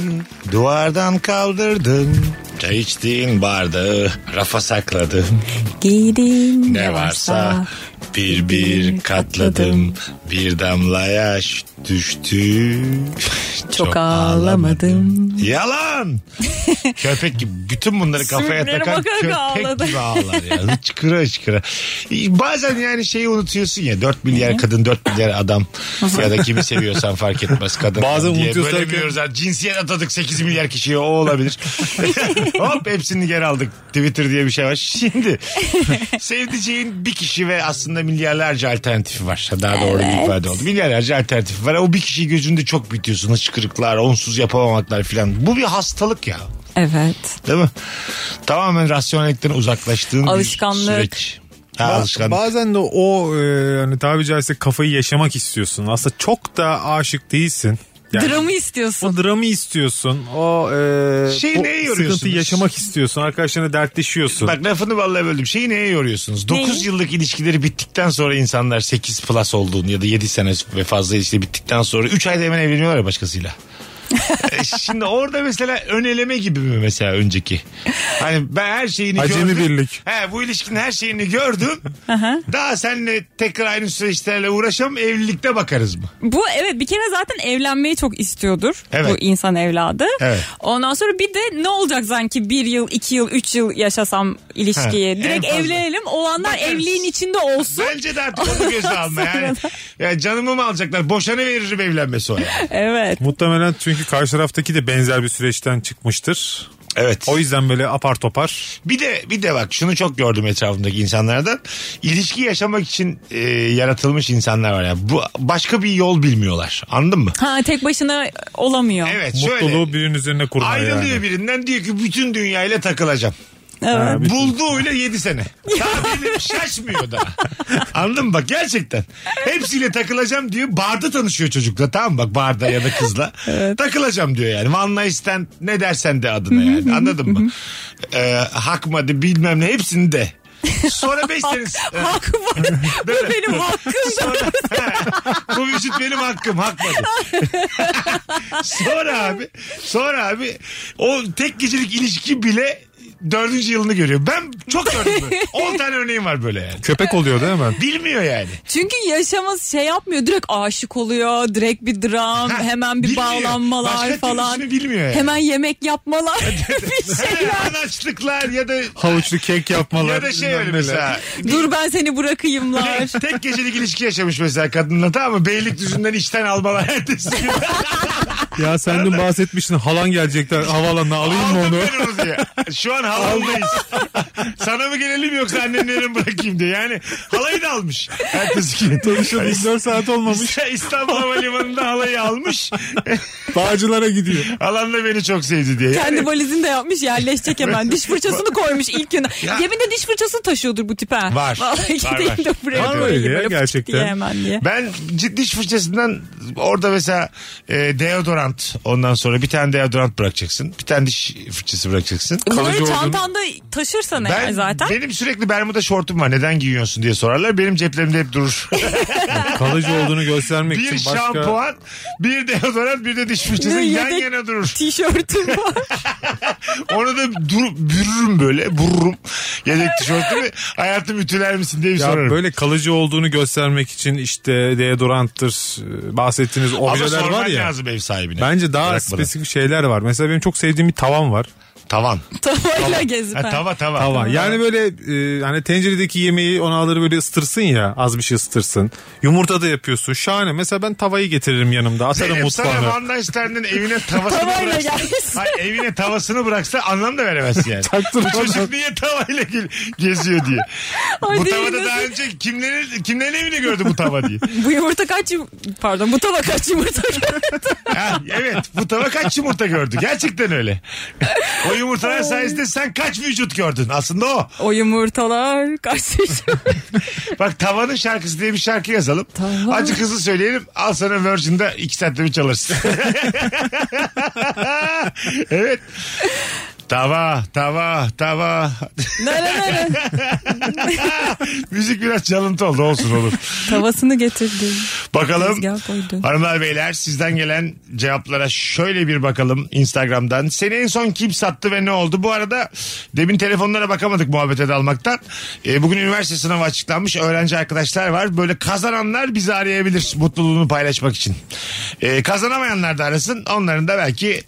Speaker 1: duvardan kaldırdım. Çay içtiğin bardağı rafa sakladım.
Speaker 2: Giydim
Speaker 1: Ne varsa bir bir katladım. Bir damla yaş düştü.
Speaker 2: çok ağlamadım.
Speaker 1: Yalan. köpek gibi. Bütün bunları kafaya
Speaker 2: Sürünlere
Speaker 1: takan
Speaker 2: bakarak
Speaker 1: köpek
Speaker 2: ağladı.
Speaker 1: gibi ağlar ya. Hıçkıra hıçkıra. Bazen yani şeyi unutuyorsun ya. 4 milyar kadın 4 milyar adam. ya da kimi seviyorsan fark etmez kadın.
Speaker 3: Bazen
Speaker 1: diye
Speaker 3: unutuyorsun ki-
Speaker 1: Bölemiyoruz. ha. Cinsiyet atadık 8 milyar kişiye o olabilir. Hop hepsini geri aldık. Twitter diye bir şey var. Şimdi sevdiceğin bir kişi ve aslında milyarlarca alternatifi var. Daha doğru bir ifade oldu. Milyarlarca alternatifi var. O bir kişi gözünde çok bitiyorsun. Hıçkırıklar, onsuz yapamamaklar filan. Bu bir hastalık ya.
Speaker 2: Evet.
Speaker 1: Değil mi? Tamamen rasyonellikten uzaklaştığın
Speaker 2: Alışkanlık.
Speaker 1: bir süreç. Ha,
Speaker 3: Ba-
Speaker 1: alışkanlık.
Speaker 3: Bazen de o e, hani tabi caizse kafayı yaşamak istiyorsun. Aslında çok da aşık değilsin. Yani
Speaker 2: Dramı istiyorsun.
Speaker 3: o dramı istiyorsun. O e,
Speaker 1: Şeyi
Speaker 3: o
Speaker 1: Şey, neye yoruyorsunuz?
Speaker 3: sıkıntıyı yaşamak istiyorsun. Arkadaşlarına dertleşiyorsun.
Speaker 1: Bak lafını vallahi böldüm. Şeyi neye yoruyorsunuz? 9
Speaker 2: Neyi?
Speaker 1: yıllık ilişkileri bittikten sonra insanlar 8 plus olduğunu ya da 7 sene ve fazla ilişki bittikten sonra 3 ayda hemen evleniyorlar ya başkasıyla. E, Şimdi orada mesela öneleme gibi mi mesela önceki? Hani ben her şeyini
Speaker 3: Acemi
Speaker 1: gördüm.
Speaker 3: birlik.
Speaker 1: He, bu ilişkinin her şeyini gördüm. Daha seninle tekrar aynı süreçlerle uğraşam evlilikte bakarız mı?
Speaker 2: Bu evet bir kere zaten evlenmeyi çok istiyordur
Speaker 1: Evet.
Speaker 2: bu insan evladı.
Speaker 1: Evet.
Speaker 2: Ondan sonra bir de ne olacak sanki bir yıl, iki yıl, üç yıl yaşasam ilişkiyi.
Speaker 1: Ha,
Speaker 2: Direkt
Speaker 1: en fazla.
Speaker 2: evlenelim o anlar
Speaker 1: Bakarız.
Speaker 2: evliliğin içinde olsun.
Speaker 1: Bence de artık onu göze alma yani. Ya canımı mı alacaklar? Boşanı veririm evlenmesi o yani.
Speaker 2: Evet.
Speaker 3: Muhtemelen çünkü karşı taraftaki de benzer bir süreçten çıkmıştır.
Speaker 1: Evet.
Speaker 3: O yüzden böyle apar topar.
Speaker 1: Bir de bir de bak şunu çok gördüm etrafımdaki insanlardan. İlişki yaşamak için e, yaratılmış insanlar var ya. Bu başka bir yol bilmiyorlar. Anladın mı?
Speaker 2: Ha tek başına olamıyor.
Speaker 1: Evet
Speaker 3: Mutluluğu
Speaker 1: şöyle.
Speaker 3: birinin üzerine kurma
Speaker 1: Ayrılıyor
Speaker 3: yani.
Speaker 1: birinden diyor ki bütün dünyayla takılacağım.
Speaker 2: Evet.
Speaker 3: Ha, bir-
Speaker 1: Bulduğuyla 7 sene. Tabirim şaşmıyor da. Anladın mı bak gerçekten. Hepsiyle takılacağım diyor. Barda tanışıyor çocukla tamam mı? bak barda ya da kızla. Takılacağım diyor yani. One night stand ne dersen de adına yani anladın mı? Ee, hakmadı bilmem ne hepsini de. Sonra 5 sene...
Speaker 2: Hakkım var. Bu benim hakkım.
Speaker 1: Sonra, bu vücut benim hakkım hakmadı. sonra abi sonra abi o tek gecelik ilişki bile dördüncü yılını görüyor. Ben çok gördüm. böyle. 10 tane örneğim var böyle yani.
Speaker 3: Köpek oluyor değil mi?
Speaker 1: Bilmiyor yani.
Speaker 2: Çünkü yaşaması şey yapmıyor. Direkt aşık oluyor. Direkt bir dram.
Speaker 1: Ha,
Speaker 2: hemen bir
Speaker 1: bilmiyor.
Speaker 2: bağlanmalar
Speaker 1: Başka
Speaker 2: falan.
Speaker 1: türlüsünü bilmiyor yani.
Speaker 2: Hemen yemek yapmalar. bir şey. şeyler.
Speaker 1: Ha, Anaçlıklar ya da
Speaker 3: Havuçlu kek yapmalar.
Speaker 1: ya da şey
Speaker 3: bilmem
Speaker 1: öyle
Speaker 3: neler.
Speaker 1: mesela.
Speaker 2: Dur ben seni bırakayımlar.
Speaker 1: Tek gecelik ilişki yaşamış mesela kadınla tamam mı? Beylikdüzü'nden işten almalar ertesi gün.
Speaker 3: Ya sen dün bahsetmiştin halan gelecekler havaalanına alayım mı
Speaker 1: şey. Aldım
Speaker 3: onu?
Speaker 1: ben onu diye. Şu an halandayız. Sana mı gelelim yoksa annemlerin bırakayım diye. Yani halayı da almış. Ertesi gün.
Speaker 3: Tanışalı 24 saat olmamış.
Speaker 1: İstanbul Havalimanı'nda halayı almış.
Speaker 3: Bağcılara gidiyor.
Speaker 1: Alan da beni çok sevdi diye. Yani
Speaker 2: Kendi valizini de yapmış yerleşecek hemen. Diş fırçasını koymuş ilk gün. Yeminle diş fırçasını taşıyordur bu tipe.
Speaker 1: Var.
Speaker 2: Vallahi
Speaker 1: Var,
Speaker 2: gideyim
Speaker 1: var.
Speaker 2: de buraya
Speaker 3: Var
Speaker 2: koyayım
Speaker 3: öyle ya,
Speaker 2: böyle pıt
Speaker 3: gerçekten.
Speaker 2: diye hemen diye.
Speaker 1: ben ciddi iş fırçasından orada mesela e, deodorant ondan sonra bir tane deodorant bırakacaksın. Bir tane diş fırçası bırakacaksın.
Speaker 2: Bunları
Speaker 3: olduğunu-
Speaker 2: çantanda taşırsan eğer
Speaker 1: Ben,
Speaker 2: zaten.
Speaker 1: Benim sürekli Bermuda şortum var. Neden giyiyorsun diye sorarlar. Benim ceplerimde hep durur.
Speaker 3: Kalıcı olduğunu göstermek
Speaker 1: bir
Speaker 3: için başka...
Speaker 1: şampuan, bir deodorant, bir de diş fırçası
Speaker 2: Ne,
Speaker 1: yan
Speaker 2: yedek-
Speaker 1: yana durur.
Speaker 2: Tişörtüm var.
Speaker 1: Onu da dur, bürürüm böyle. Bururum. Yedek tişörtümü hayatım ütüler misin diye bir
Speaker 3: Ya
Speaker 1: sorarım.
Speaker 3: böyle kalıcı olduğunu göstermek için işte deodoranttır e, bahsettiğiniz
Speaker 1: Ama
Speaker 3: objeler
Speaker 1: sorman
Speaker 3: var ya.
Speaker 1: lazım ev sahibine.
Speaker 3: Bence daha
Speaker 1: Bırakmadan.
Speaker 3: spesifik şeyler var. Mesela benim çok sevdiğim bir tavan var.
Speaker 1: Tavan.
Speaker 2: Tavayla gezip.
Speaker 1: Ha,
Speaker 2: ha.
Speaker 1: tava tava.
Speaker 3: Tava. Yani böyle e, hani tenceredeki yemeği ona alır böyle ısıtırsın ya az bir şey ısıtırsın. Yumurta da yapıyorsun. Şahane. Mesela ben tavayı getiririm yanımda. Atarım
Speaker 1: Zeynep sana
Speaker 3: mutfağına.
Speaker 1: Van Dijssel'den evine tavasını
Speaker 2: Tavayla
Speaker 1: bıraksa,
Speaker 2: gelsin.
Speaker 1: Hayır, evine tavasını bıraksa anlam da veremezsin yani.
Speaker 3: Taktır
Speaker 1: Bu
Speaker 3: bana.
Speaker 1: Çocuk niye tavayla gel- geziyor diye.
Speaker 2: Ay
Speaker 1: bu
Speaker 2: değil,
Speaker 1: tavada daha
Speaker 2: nasıl-
Speaker 1: önce kimlerin, kimlerin evini gördü bu tava diye.
Speaker 2: Bu yumurta kaç yum... Pardon bu tava kaç yumurta
Speaker 1: Ha, evet bu tava kaç yumurta gördü. Gerçekten öyle. o yumurtalar sayesinde sen kaç vücut gördün. Aslında o.
Speaker 2: O yumurtalar kaç
Speaker 1: Bak tavanın şarkısı diye bir şarkı yazalım.
Speaker 2: Tava.
Speaker 1: Acı hızlı söyleyelim. Al sana Virgin'de iki saatte bir çalırsın. evet. Tava, tava, tava.
Speaker 2: Nere nere.
Speaker 1: Müzik biraz çalıntı oldu olsun olur.
Speaker 2: Tavasını getirdim.
Speaker 1: Bakalım
Speaker 2: Tezgah koydum.
Speaker 1: hanımlar beyler sizden gelen cevaplara şöyle bir bakalım Instagram'dan. Seni en son kim sattı ve ne oldu? Bu arada demin telefonlara bakamadık muhabbete dalmaktan. E, bugün üniversite sınavı açıklanmış. Öğrenci arkadaşlar var. Böyle kazananlar bizi arayabilir mutluluğunu paylaşmak için. E, kazanamayanlar da arasın. Onların da belki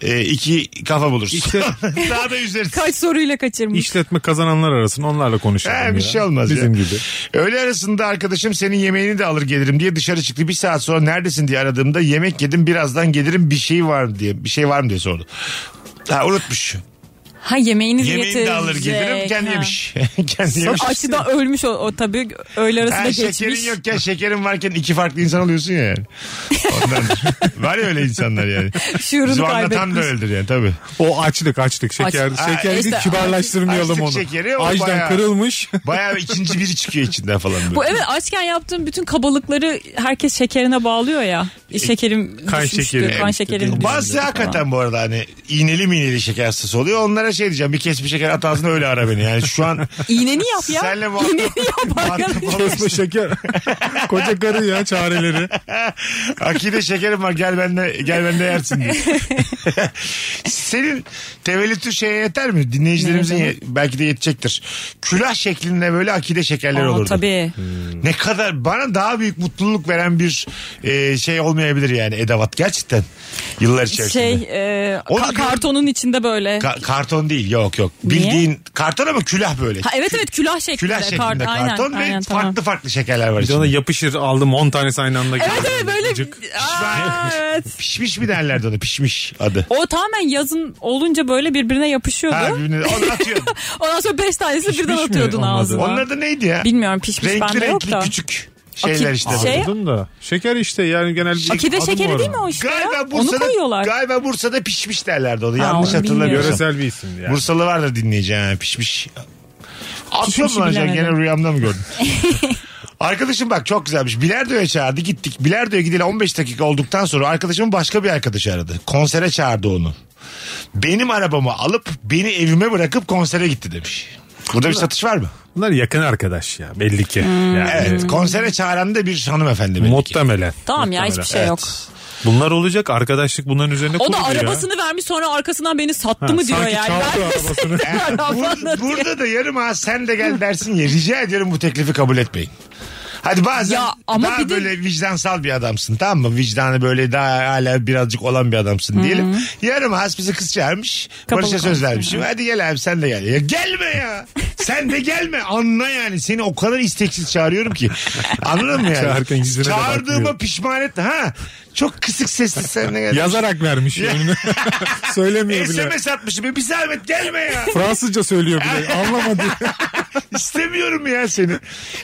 Speaker 1: e, iki kafa bulursun.
Speaker 3: İşte-
Speaker 1: Daha da üzeriz.
Speaker 2: Kaç soruyla kaçırmış.
Speaker 3: İşletme kazananlar arasın. Onlarla konuşalım.
Speaker 1: He,
Speaker 3: ya.
Speaker 1: bir şey olmaz
Speaker 3: Bizim
Speaker 1: ya.
Speaker 3: gibi.
Speaker 1: Öğle arasında arkadaşım senin yemeğini de alır gelirim diye dışarı çıktı. Bir saat sonra neredesin diye aradığımda yemek yedim birazdan gelirim bir şey var mı diye bir şey var mı diye sordu. Ha unutmuş.
Speaker 2: Ha yemeğini de
Speaker 1: Yemeğini de alır gelirim kendi
Speaker 2: ha.
Speaker 1: yemiş. kendi yemiş.
Speaker 2: Açıdan ölmüş o, o tabii öğle arasında
Speaker 1: Ha,
Speaker 2: geçmiş.
Speaker 1: şekerin yokken şekerin varken iki farklı insan alıyorsun ya yani. Ondan. var ya öyle insanlar yani.
Speaker 2: Şuurunu
Speaker 1: Bizim anlatan da
Speaker 2: kaybetmiş.
Speaker 1: öyledir yani tabii.
Speaker 3: O açlık açlık. Şeker,
Speaker 2: Aç-
Speaker 3: şeker
Speaker 2: işte-
Speaker 3: kibarlaştırmayalım
Speaker 1: Açlık
Speaker 3: onu.
Speaker 1: şekeri o
Speaker 3: Ajdan
Speaker 1: bayağı-
Speaker 3: kırılmış.
Speaker 1: Bayağı ikinci biri çıkıyor içinden falan böyle.
Speaker 2: Bu evet açken yaptığım bütün kabalıkları herkes şekerine bağlıyor ya.
Speaker 1: E,
Speaker 2: Şekerim
Speaker 3: Kan
Speaker 2: düşmüştü,
Speaker 3: şekeri.
Speaker 2: Kan şekerim
Speaker 1: Bazısı
Speaker 2: düşmüştü falan.
Speaker 1: hakikaten bu arada hani iğneli miğneli şeker hastası oluyor. Onlara şey diyeceğim bir kesme şeker at ağzına öyle ara beni. Yani şu an
Speaker 2: İğneni yap ya.
Speaker 1: Senle muhatap-
Speaker 2: İğneni yap
Speaker 1: muhatap
Speaker 2: arkadaş.
Speaker 1: olmak
Speaker 3: Kesme şeker. Koca karı ya çareleri.
Speaker 1: Akide şekerim var gel bende gel bende yersin diye. Senin tevellütü şeye yeter mi? Dinleyicilerimizin
Speaker 2: Neydi?
Speaker 1: ye- belki de yetecektir. Külah şeklinde böyle akide şekerler
Speaker 2: Aa,
Speaker 1: olurdu.
Speaker 2: tabii.
Speaker 1: Ne kadar bana daha büyük mutluluk veren bir e, şey olmayabilir yani edavat gerçekten. Yıllar içerisinde.
Speaker 2: Şey e,
Speaker 1: Onu gör-
Speaker 2: ka- kartonun içinde böyle.
Speaker 1: Ka- karton değil yok yok.
Speaker 2: Niye?
Speaker 1: Bildiğin karton ama külah böyle.
Speaker 2: ha, evet evet külah şeklinde.
Speaker 1: Külah şeklinde karton,
Speaker 2: Aynen,
Speaker 1: ve
Speaker 2: aynen,
Speaker 1: farklı
Speaker 2: tamam.
Speaker 1: farklı şekerler var
Speaker 3: Bir de ona
Speaker 1: içinde.
Speaker 3: yapışır aldım 10 tanesi aynı anda.
Speaker 2: Evet evet böyle.
Speaker 3: Cık.
Speaker 2: Aa, evet.
Speaker 1: Pişmiş mi derlerdi ona pişmiş adı.
Speaker 2: O tamamen yazın olunca böyle birbirine yapışıyordu.
Speaker 1: Ha, birbirine- onu atıyordun.
Speaker 2: Ondan sonra beş tanesini birden
Speaker 3: mi
Speaker 2: atıyordun
Speaker 3: onun adı?
Speaker 2: ağzına.
Speaker 1: Onun adı neydi ya?
Speaker 2: Bilmiyorum pişmiş
Speaker 1: renkli
Speaker 2: bende yok
Speaker 1: renkli
Speaker 2: da.
Speaker 1: küçük şeyler
Speaker 2: Akit-
Speaker 1: işte.
Speaker 2: şey-
Speaker 3: Anladım da. Şeker işte yani genelde.
Speaker 2: Akide
Speaker 3: şey. Adı
Speaker 2: şekeri
Speaker 3: var
Speaker 2: değil mi
Speaker 3: onun.
Speaker 2: o işte ya?
Speaker 1: Galiba
Speaker 2: Onu
Speaker 1: Bursa'da,
Speaker 2: koyuyorlar.
Speaker 1: galiba Bursa'da pişmiş derlerdi onu. Yanlış
Speaker 2: onu
Speaker 1: hatırlamıyorum.
Speaker 2: bilmiyorum.
Speaker 3: Yöresel bir isimdi yani.
Speaker 1: Bursalı var da dinleyeceğim yani pişmiş. Atıyor mu
Speaker 2: Pişmişi
Speaker 1: lan sen?
Speaker 2: bilemedim.
Speaker 1: gene rüyamda mı gördün? Arkadaşım bak çok güzelmiş. Bilardo'ya çağırdı gittik. Bilardo'ya gideli 15 dakika olduktan sonra arkadaşımın başka bir arkadaşı aradı. Konsere çağırdı onu. Benim arabamı alıp beni evime bırakıp konsere gitti demiş. Burada bir satış var mı?
Speaker 3: Bunlar yakın arkadaş ya belli ki.
Speaker 2: Hmm.
Speaker 3: Yani
Speaker 1: Evet. Konsere çağıran da bir hanımefendi belli ki.
Speaker 3: Muhtemelen.
Speaker 2: Tamam ya
Speaker 3: Muhtemelen.
Speaker 2: hiçbir şey
Speaker 3: Evet.
Speaker 2: yok.
Speaker 3: Bunlar olacak arkadaşlık bunların üzerine
Speaker 2: O da
Speaker 3: kurulu ya.
Speaker 2: arabasını vermiş sonra arkasından beni sattı
Speaker 3: Ha,
Speaker 2: mı diyor
Speaker 3: sanki
Speaker 2: yani.
Speaker 3: çaldı arabasını.
Speaker 2: Ben-
Speaker 1: Burada, burada da yarım ha sen de gel dersin ya rica ediyorum bu teklifi kabul etmeyin. Hadi bazen
Speaker 2: Ya ama
Speaker 1: daha
Speaker 2: bir de-
Speaker 1: böyle vicdansal bir adamsın tamam mı? Vicdanı böyle daha hala birazcık olan bir adamsın diyelim. Yarım has bizi kız çağırmış.
Speaker 2: Kapalı
Speaker 1: Barış'a söz
Speaker 2: konuşma.
Speaker 1: vermişim. Hadi gel abi sen de gel. Ya gelme ya. sen de gelme. Anla yani. Seni o kadar isteksiz çağırıyorum ki. Anladın mı yani?
Speaker 3: Çağırırken yüzüne de
Speaker 1: Çağırdığıma
Speaker 3: bakmıyor.
Speaker 1: pişman etme. Ha? Çok kısık sesli sen de gel.
Speaker 3: Yazarak vermiş önüne. Söylemiyor bile.
Speaker 1: SMS atmışım. Bir zahmet gelme ya.
Speaker 3: Fransızca söylüyor bile. Anlamadı.
Speaker 1: İstemiyorum ya seni.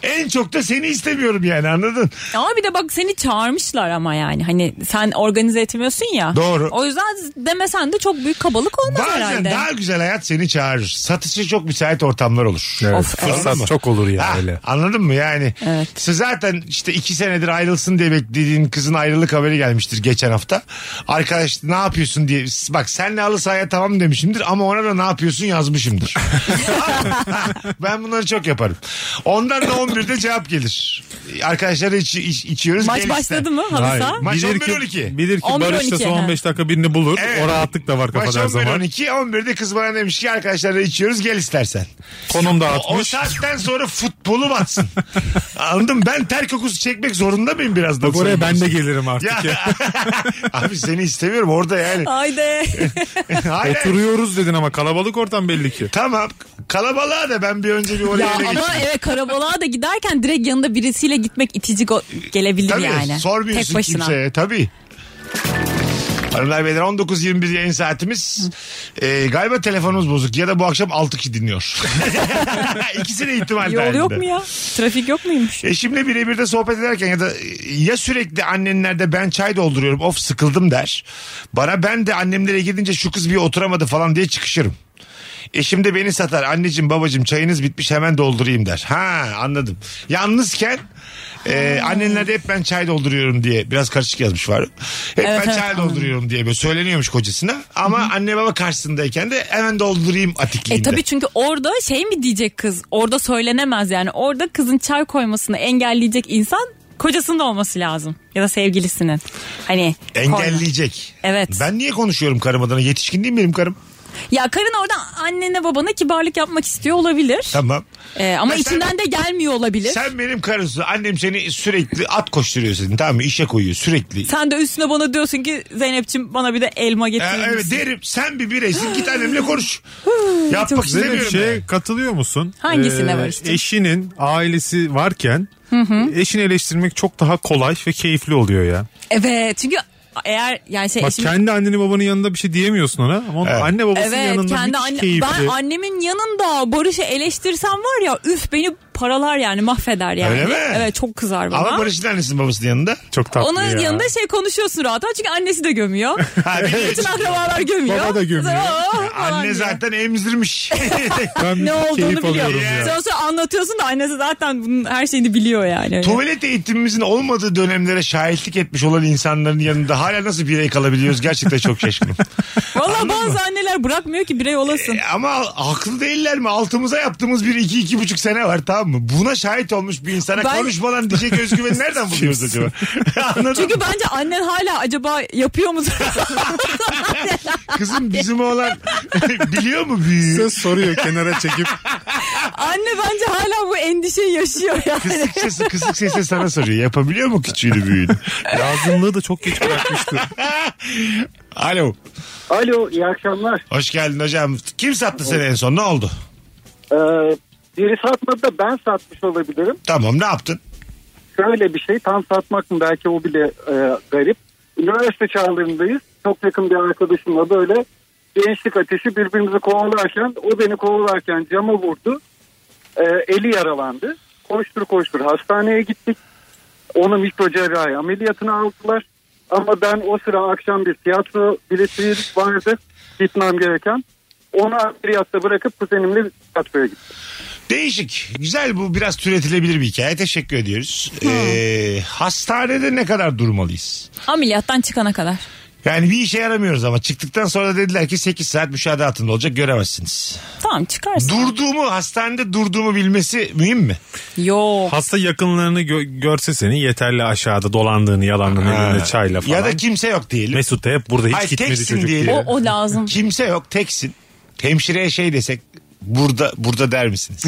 Speaker 1: En çok da seni istemiyorum yani anladın?
Speaker 2: Ama bir de bak seni çağırmışlar ama yani. Hani sen organize etmiyorsun ya.
Speaker 1: Doğru.
Speaker 2: O yüzden demesen de çok büyük kabalık olmaz
Speaker 1: Bazen
Speaker 2: herhalde.
Speaker 1: daha güzel hayat seni çağırır. Satışa çok müsait ortamlar olur.
Speaker 3: Evet,
Speaker 2: Of, evet.
Speaker 3: fırsat çok olur ya
Speaker 1: Ha,
Speaker 3: öyle.
Speaker 1: anladın mı yani?
Speaker 2: Evet.
Speaker 1: Siz zaten işte iki senedir ayrılsın diye beklediğin kızın ayrılık haberi gelmiştir geçen hafta. Arkadaş ne yapıyorsun diye bak senle halı sahaya tamam demişimdir ama ona da ne yapıyorsun yazmışımdır. Ha, ben Ben bunları çok yaparım. Ondan da 11'de cevap gelir. Arkadaşlar iç, iç- içiyoruz.
Speaker 2: Maç
Speaker 1: gelirse.
Speaker 2: başladı mı halı
Speaker 3: Hayır.
Speaker 2: saha?
Speaker 1: Maç
Speaker 3: Bilir
Speaker 1: 11-12.
Speaker 3: ki, bilir ki
Speaker 2: 11-12,
Speaker 3: Barış da son
Speaker 2: ha.
Speaker 3: 15 dakika birini bulur.
Speaker 1: Evet.
Speaker 3: O rahatlık da var
Speaker 1: Maç
Speaker 3: kafada her zaman.
Speaker 1: 11-12. 11'de kız bana demiş ki arkadaşlarla içiyoruz gel istersen.
Speaker 3: Konum da
Speaker 1: O, o
Speaker 3: atmış.
Speaker 1: saatten sonra futbolu batsın. Anladın mı? Ben ter kokusu çekmek zorunda mıyım birazdan?
Speaker 3: Bak oraya
Speaker 1: sonra?
Speaker 3: ben de gelirim artık
Speaker 1: Ya.
Speaker 3: ya.
Speaker 1: Abi seni istemiyorum orada yani.
Speaker 2: Haydi.
Speaker 1: Hayır.
Speaker 3: Oturuyoruz dedin ama kalabalık ortam belli ki.
Speaker 1: Tamam. Kalabalığa da ben bir önce bir oraya
Speaker 2: ya
Speaker 1: ele
Speaker 2: ama
Speaker 1: geçeyim.
Speaker 2: evet karabalığa da giderken direkt yanında birisiyle gitmek itici go- gelebilir
Speaker 1: Tabii
Speaker 2: yani.
Speaker 1: sormuyorsun
Speaker 2: Tek başına.
Speaker 1: kimseye. Tabii. Hanımlar beyler 19.21 yayın saatimiz. Ee, galiba telefonumuz bozuk ya da bu akşam 6 kişi dinliyor. İkisi de E, ihtimal
Speaker 2: Yol yok
Speaker 1: dahilinde.
Speaker 2: mu ya? Trafik yok muymuş?
Speaker 1: Eşimle birebir de sohbet ederken ya da ya sürekli annenlerde ben çay dolduruyorum of sıkıldım der. Bana ben de annemlere gidince şu kız bir oturamadı falan diye çıkışırım. Eşim de beni satar. Anneciğim babacığım çayınız bitmiş hemen doldurayım der. Ha anladım. Yalnızken e,
Speaker 2: Hmm.
Speaker 1: annenlerde hep ben çay dolduruyorum diye biraz karışık yazmış var. Hep
Speaker 2: Evet,
Speaker 1: ben
Speaker 2: evet,
Speaker 1: çay
Speaker 2: anladım.
Speaker 1: dolduruyorum diye böyle söyleniyormuş kocasına. Ama anne baba karşısındayken de hemen doldurayım
Speaker 2: E
Speaker 1: atikliğinde.
Speaker 2: tabii çünkü orada şey mi diyecek kız? Orada söylenemez yani. Orada kızın çay koymasını engelleyecek insan kocasının da olması lazım. Ya da sevgilisinin. Hani koyma.
Speaker 1: Engelleyecek.
Speaker 2: Evet.
Speaker 1: Ben niye konuşuyorum karım adına? Yetişkin değil miyim karım?
Speaker 2: Ya karın orada annene babana kibarlık yapmak istiyor olabilir.
Speaker 1: Tamam.
Speaker 2: E, ama
Speaker 1: Mesela-
Speaker 2: içinden de gelmiyor olabilir. Sen,
Speaker 1: Sen benim karımsın. Annem seni sürekli at koşturuyor seni tamam mı? İşe koyuyor sürekli.
Speaker 2: de üstüne bana diyorsun ki Zeynep'ciğim bana bir de elma
Speaker 1: Ee,
Speaker 2: getirir
Speaker 1: evet
Speaker 2: misin?
Speaker 1: derim sen bir bireysin git annemle konuş. Yapmak
Speaker 2: çok
Speaker 3: Zeynep
Speaker 1: istemiyorum.
Speaker 3: şeye
Speaker 1: yani.
Speaker 3: katılıyor musun? Ee,
Speaker 2: Hangisine barıştın?
Speaker 3: Eşinin ailesi varken eşini eleştirmek çok daha kolay ve keyifli oluyor ya.
Speaker 2: Evet çünkü eğer yani şey
Speaker 3: Bak
Speaker 2: eşim-
Speaker 3: kendi annenin babanın yanında bir şey diyemiyorsun ona. Ama onun
Speaker 1: Evet.
Speaker 3: anne babasının
Speaker 2: Evet
Speaker 3: yanında
Speaker 2: kendi
Speaker 3: müthiş
Speaker 2: anne,
Speaker 3: keyifli.
Speaker 2: ben annemin yanında Barış'ı eleştirsem var ya üf beni paralar yani mahveder yani.
Speaker 1: Öyle mi?
Speaker 2: Evet çok kızar bana.
Speaker 1: Ama Barış'ın annesinin babasının yanında.
Speaker 3: Çok tatlı
Speaker 2: Onun
Speaker 3: ya.
Speaker 2: yanında şey konuşuyorsun rahat rahat çünkü annesi de gömüyor.
Speaker 1: Ha, bir de
Speaker 2: Bütün akrabalar gömüyor.
Speaker 3: Baba da gömüyor.
Speaker 2: Sonra, "Aa!" falan
Speaker 1: anne
Speaker 2: diyor.
Speaker 1: zaten emzirmiş.
Speaker 3: Ben
Speaker 2: ne
Speaker 3: keyif
Speaker 2: olduğunu biliyor.
Speaker 3: alıyorum ya.
Speaker 2: Sonra, sonra anlatıyorsun da annesi zaten bunun her şeyini biliyor yani. Öyle.
Speaker 1: Tuvalet eğitimimizin olmadığı dönemlere şahitlik etmiş olan insanların yanında hala nasıl birey kalabiliyoruz gerçekten çok şaşkınım.
Speaker 2: Valla bazı anneler bırakmıyor ki birey olasın.
Speaker 1: E, ama haklı değiller mi? Altımıza yaptığımız bir iki, iki buçuk sene var tamam mı? Buna şahit olmuş bir insana
Speaker 2: Ben-
Speaker 1: konuşmadan diyecek özgüveni nereden buluyoruz acaba? Anladın mı?
Speaker 2: Çünkü bence annen hala acaba yapıyor mu?
Speaker 1: Kızım bizim oğlan biliyor mu büyüğü?
Speaker 3: Söz soruyor kenara çekip.
Speaker 2: Anne bence hala bu endişeyi yaşıyor yani.
Speaker 1: Kısık sesi, kısık sesi sana soruyor. Yapabiliyor mu küçüğünü büyüğünü?
Speaker 3: Lazımlığı da çok geç bırakmıştı.
Speaker 1: Alo.
Speaker 8: Alo iyi akşamlar.
Speaker 1: Hoş geldin hocam. Kim sattı seni en son? Ne oldu?
Speaker 8: Ee, biri satmadı da ben satmış olabilirim.
Speaker 1: Tamam ne yaptın?
Speaker 8: Şöyle bir şey tam satmak mı belki o bile e, garip. Üniversite çağlarındayız. Çok yakın bir arkadaşımla böyle gençlik ateşi birbirimizi kovalarken o beni kovalarken cama vurdu. Ee, eli yaralandı. Koştur koştur hastaneye gittik. Onu mikro cerrahi ameliyatına aldılar. Ama ben o sıra akşam bir tiyatro bileti vardı gitmem gereken. Onu ameliyatta bırakıp kuzenimle tiyatroya gittim.
Speaker 1: Değişik. Güzel bu biraz türetilebilir bir hikaye. Teşekkür ediyoruz. Ee, hastanede ne kadar durmalıyız?
Speaker 2: Ameliyattan çıkana kadar.
Speaker 1: Yani bir işe yaramıyoruz ama çıktıktan sonra da dediler ki 8 saat müşahede altında olacak göremezsiniz.
Speaker 2: Tamam çıkarsın.
Speaker 1: Durduğumu hastanede durduğumu bilmesi mühim mi?
Speaker 2: Yok.
Speaker 3: Hasta yakınlarını gö- görse seni yeterli aşağıda dolandığını yalandığını
Speaker 1: Ha.
Speaker 3: elinde çayla falan.
Speaker 1: Ya da kimse yok diyelim.
Speaker 3: Mesut da hep burada hiç
Speaker 1: Ay,
Speaker 3: gitmedi
Speaker 1: teksin
Speaker 3: çocuk
Speaker 1: diyelim.
Speaker 3: diye.
Speaker 2: O, o lazım.
Speaker 1: Kimse yok teksin. Hemşireye şey desek burada burada der misiniz?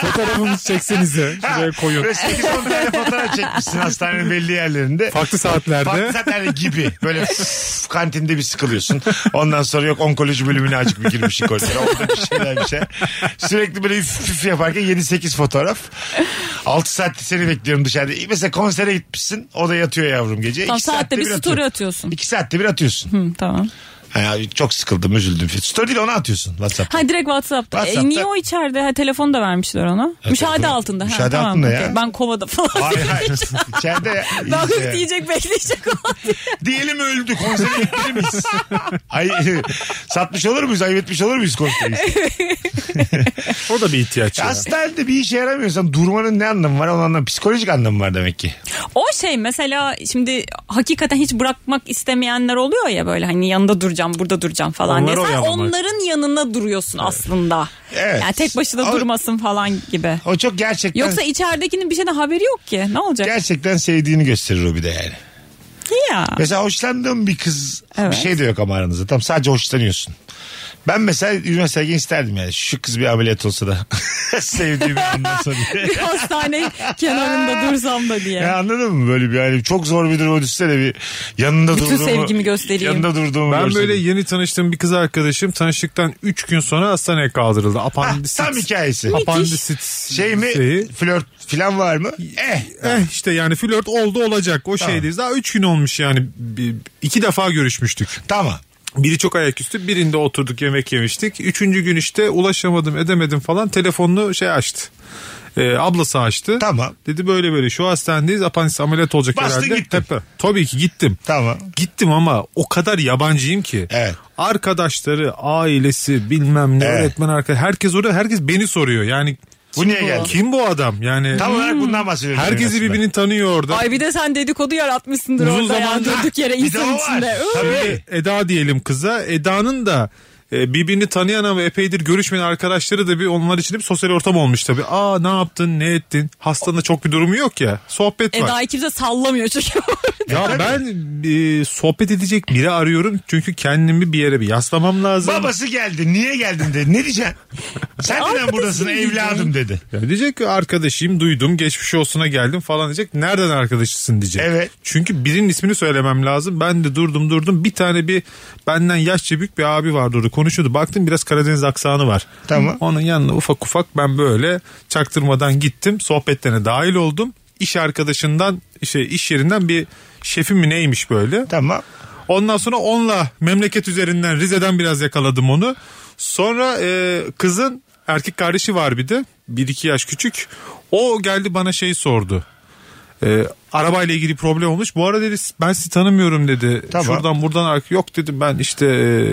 Speaker 3: Fotoğrafımızı çeksenize. Şuraya koyun.
Speaker 1: Böyle 8-10 tane fotoğraf çekmişsin hastanenin belli yerlerinde.
Speaker 3: Farklı saatlerde.
Speaker 1: Farklı zaten gibi. Böyle üf, kantinde bir sıkılıyorsun. Ondan sonra yok onkoloji bölümüne acık bir girmişsin koridora. Orada bir şeyler bir şey. Sürekli böyle üf üf yaparken 7-8 fotoğraf. 6 saatte seni bekliyorum dışarıda. Mesela konsere gitmişsin. O da yatıyor yavrum gece.
Speaker 2: Tam
Speaker 1: İki
Speaker 2: saatte bir
Speaker 1: atıyorum.
Speaker 2: story atıyorsun.
Speaker 1: İki saatte bir atıyorsun.
Speaker 2: Hı, tamam.
Speaker 1: Ha, çok sıkıldım üzüldüm. Story değil onu atıyorsun WhatsApp.
Speaker 2: Ha direkt WhatsApp'ta.
Speaker 1: WhatsApp'ta-
Speaker 2: E, niye o içeride? Ha telefonu da vermişler ona.
Speaker 1: tabii.
Speaker 2: müşahede altında. Ha,
Speaker 1: Müşahede
Speaker 2: tamam,
Speaker 1: altında ya.
Speaker 2: okey. Ben kovada falan.
Speaker 1: Hayır hayır. İçeride.
Speaker 2: Ben
Speaker 1: iyice.
Speaker 2: hıf diyecek bekleyecek o.
Speaker 1: Diyelim öldü konsere gidelim miyiz? Ay, satmış olur muyuz? Ayıp etmiş olur muyuz konseri?
Speaker 3: O da bir ihtiyaç. ya.
Speaker 1: Hastanede bir işe yaramıyorsan durmanın ne anlamı var? Onun anlamı psikolojik anlamı var demek ki.
Speaker 2: O şey mesela şimdi hakikaten hiç bırakmak istemeyenler oluyor ya böyle hani yanında duracağım, burada duracağım falan
Speaker 3: Onları
Speaker 2: diye. Sen
Speaker 3: oyalamak.
Speaker 2: onların yanına duruyorsun aslında.
Speaker 1: Evet.
Speaker 2: Yani tek başına
Speaker 1: Ama-
Speaker 2: durmasın falan gibi.
Speaker 1: O çok gerçekten
Speaker 2: Yoksa içeridekinin bir şeyden haberi yok ki. Ne olacak?
Speaker 1: gerçekten sevdiğini gösterir o bir de yani.
Speaker 2: ya.
Speaker 1: Mesela hoşlandığım bir kız
Speaker 2: Evet.
Speaker 1: bir şey de yok ama aranızda. Tam sadece hoşlanıyorsun. Ben mesela üniversiteyken isterdim yani. Şu kız bir ameliyat olsa da sevdiğimi anlasa diye.
Speaker 2: Hastane kenarında dursam da diye.
Speaker 1: Ya anladın mı böyle bir yani çok zor bir durum düşse de bir yanında
Speaker 2: Bütün
Speaker 1: durduğumu.
Speaker 2: sevgimi göstereyim.
Speaker 1: Yanında durduğumu
Speaker 3: Ben
Speaker 1: görse
Speaker 3: böyle
Speaker 1: de.
Speaker 3: yeni tanıştığım bir kız arkadaşım tanıştıktan 3 gün sonra hastaneye kaldırıldı. Apandisit.
Speaker 1: Ah, Tam hikayesi.
Speaker 3: Apandisit.
Speaker 1: Şey mi
Speaker 3: şeyi.
Speaker 1: flört filan var mı? Eh.
Speaker 3: Eh işte yani flört oldu olacak o
Speaker 1: Tamam.
Speaker 3: şeydeyiz. Daha 3 gün olmuş yani. Bir- iki defa görüşmüştük.
Speaker 1: Tamam.
Speaker 3: Biri çok ayaküstü birinde oturduk yemek yemiştik. Üçüncü gün işte ulaşamadım edemedim falan telefonunu şey açtı. Ee, ablası açtı.
Speaker 1: Tamam.
Speaker 3: Dedi böyle böyle şu hastanedeyiz apandisit ameliyat olacak
Speaker 1: Bastın
Speaker 3: herhalde.
Speaker 1: gittin.
Speaker 3: Tepe. Tabii ki gittim.
Speaker 1: Tamam.
Speaker 3: Gittim ama o kadar yabancıyım ki.
Speaker 1: Evet.
Speaker 3: Arkadaşları, ailesi, bilmem ne
Speaker 1: Evet.
Speaker 3: öğretmen arkadaş herkes orada herkes beni soruyor. Yani
Speaker 1: Bu niye geldi?
Speaker 3: kim bu adam? Yani
Speaker 1: Tam olarak bundan bahsediyorum.
Speaker 3: Hmm. herkesi
Speaker 1: aslında.
Speaker 3: birbirini tanıyor orada.
Speaker 2: Ay bir de sen dedikodu yaratmışsındır
Speaker 3: Uzun
Speaker 2: orada ya,
Speaker 3: zamandır-
Speaker 2: durduk yere
Speaker 1: Bir de
Speaker 2: insan
Speaker 1: o var.
Speaker 2: içinde. Üf.
Speaker 1: Tabii.
Speaker 3: Eda diyelim kıza. Eda'nın da e, birbirini tanıyan ama epeydir görüşmeyen arkadaşları da bir onlar için de bir sosyal ortam olmuş tabii. Aa ne yaptın ne ettin? Hastanın da çok bir durumu yok ya. Sohbet var.
Speaker 2: Eda'yı E kimse sallamıyor çünkü.
Speaker 3: Ya ben e, sohbet edecek biri arıyorum. Çünkü kendimi bir yere bir yaslamam lazım.
Speaker 1: Babası geldi. Niye geldin dedi. Ne diyeceksin? Sen neden buradasın evladım dedi.
Speaker 3: Ya diyecek ki arkadaşıyım duydum geçmiş olsuna geldim falan diyecek. Nereden arkadaşısın diyecek.
Speaker 1: Evet.
Speaker 3: Çünkü birinin ismini söylemem lazım. Ben de durdum durdum bir tane bir benden yaşça büyük bir abi vardı orada konuşuyordu. Baktım biraz Karadeniz aksanı var.
Speaker 1: Tamam.
Speaker 3: Onun yanına ufak ufak ben böyle çaktırmadan gittim. Sohbetlerine dahil oldum. İş arkadaşından şey iş yerinden bir şefim mi neymiş böyle.
Speaker 1: Tamam.
Speaker 3: Ondan sonra onunla memleket üzerinden Rize'den biraz yakaladım onu. Sonra e, kızın erkek kardeşi var bir de. Bir iki yaş küçük. O geldi bana şey sordu. E, arabayla ilgili problem olmuş. Bu arada dedi ben sizi tanımıyorum dedi.
Speaker 1: Tamam.
Speaker 3: Şuradan buradan ark- yok dedim ben işte e,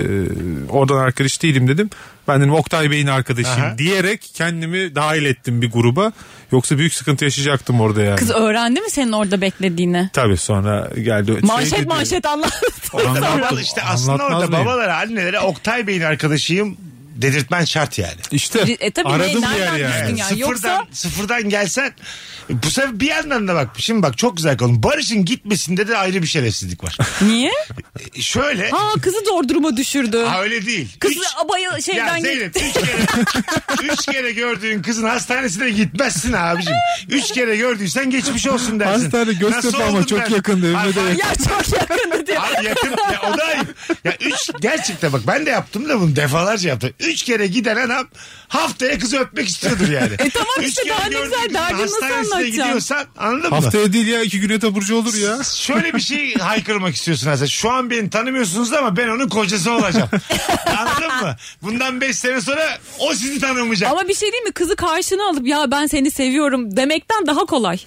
Speaker 3: oradan arkadaş değilim dedim. Ben dedim Oktay Bey'in arkadaşıyım
Speaker 1: Aha.
Speaker 3: diyerek kendimi dahil ettim bir gruba. Yoksa büyük sıkıntı yaşayacaktım orada yani.
Speaker 2: Kız öğrendi mi senin orada beklediğini?
Speaker 3: Tabii sonra geldi. şey
Speaker 2: Manşet
Speaker 3: dedi,
Speaker 2: manşet anlattı.
Speaker 3: "Anlattım,
Speaker 1: işte aslında
Speaker 3: anlatmaz
Speaker 1: orada
Speaker 3: mıyım?"
Speaker 1: babalara annelere Oktay Bey'in arkadaşıyım dedirtmen şart yani.
Speaker 3: İşte
Speaker 2: E, tabii
Speaker 3: aradım
Speaker 2: ne-
Speaker 3: bir yer
Speaker 2: nereden
Speaker 3: yani.
Speaker 2: düştün ya?
Speaker 1: sıfırdan,
Speaker 2: Yoksa-
Speaker 1: sıfırdan gelsen bu sefer bir yandan da bak şimdi bak çok güzel konu. Barış'ın gitmesinde de ayrı bir şerefsizlik var.
Speaker 2: Niye?
Speaker 1: E, Şöyle
Speaker 2: Ha kızı zor duruma düşürdü.
Speaker 1: ha, öyle değil.
Speaker 2: Kız
Speaker 1: Üç-
Speaker 2: abaya
Speaker 1: ya
Speaker 2: şeyden
Speaker 1: Zeynep
Speaker 2: gitti.
Speaker 1: üç kere, üç kere gördüğün kızın hastanesine gitmezsin abicim. Üç kere gördüysen geçmiş olsun dersin.
Speaker 3: Hastane Göztepe
Speaker 1: Nasıl
Speaker 3: ama
Speaker 1: oldun
Speaker 3: çok
Speaker 1: dersin.
Speaker 3: yakındı, evime
Speaker 1: Ay,
Speaker 3: de
Speaker 1: ay,
Speaker 3: yakın.
Speaker 2: Ya çok yakındı diyor.
Speaker 1: Abi yakın ya o da ayıp. Ya üç gerçekten bak ben de yaptım da bunu defalarca yaptım. Üç kere giden adam haftaya kızı öpmek istiyordur yani. E
Speaker 2: tamam işte, daha ne güzel, derdini nasıl anlatacaksın?
Speaker 1: gidiyorsan anladın mı?
Speaker 3: Haftaya değil ya iki güne taburcu olur ya.
Speaker 1: Şöyle bir şey haykırmak istiyorsun aslında. Şu an beni tanımıyorsunuz ama ben onun kocası olacağım. Anladın mı? Bundan beş sene sonra o sizi tanımayacak.
Speaker 2: Ama bir şey değil mi? Kızı karşına alıp ya ben seni seviyorum demekten daha kolay.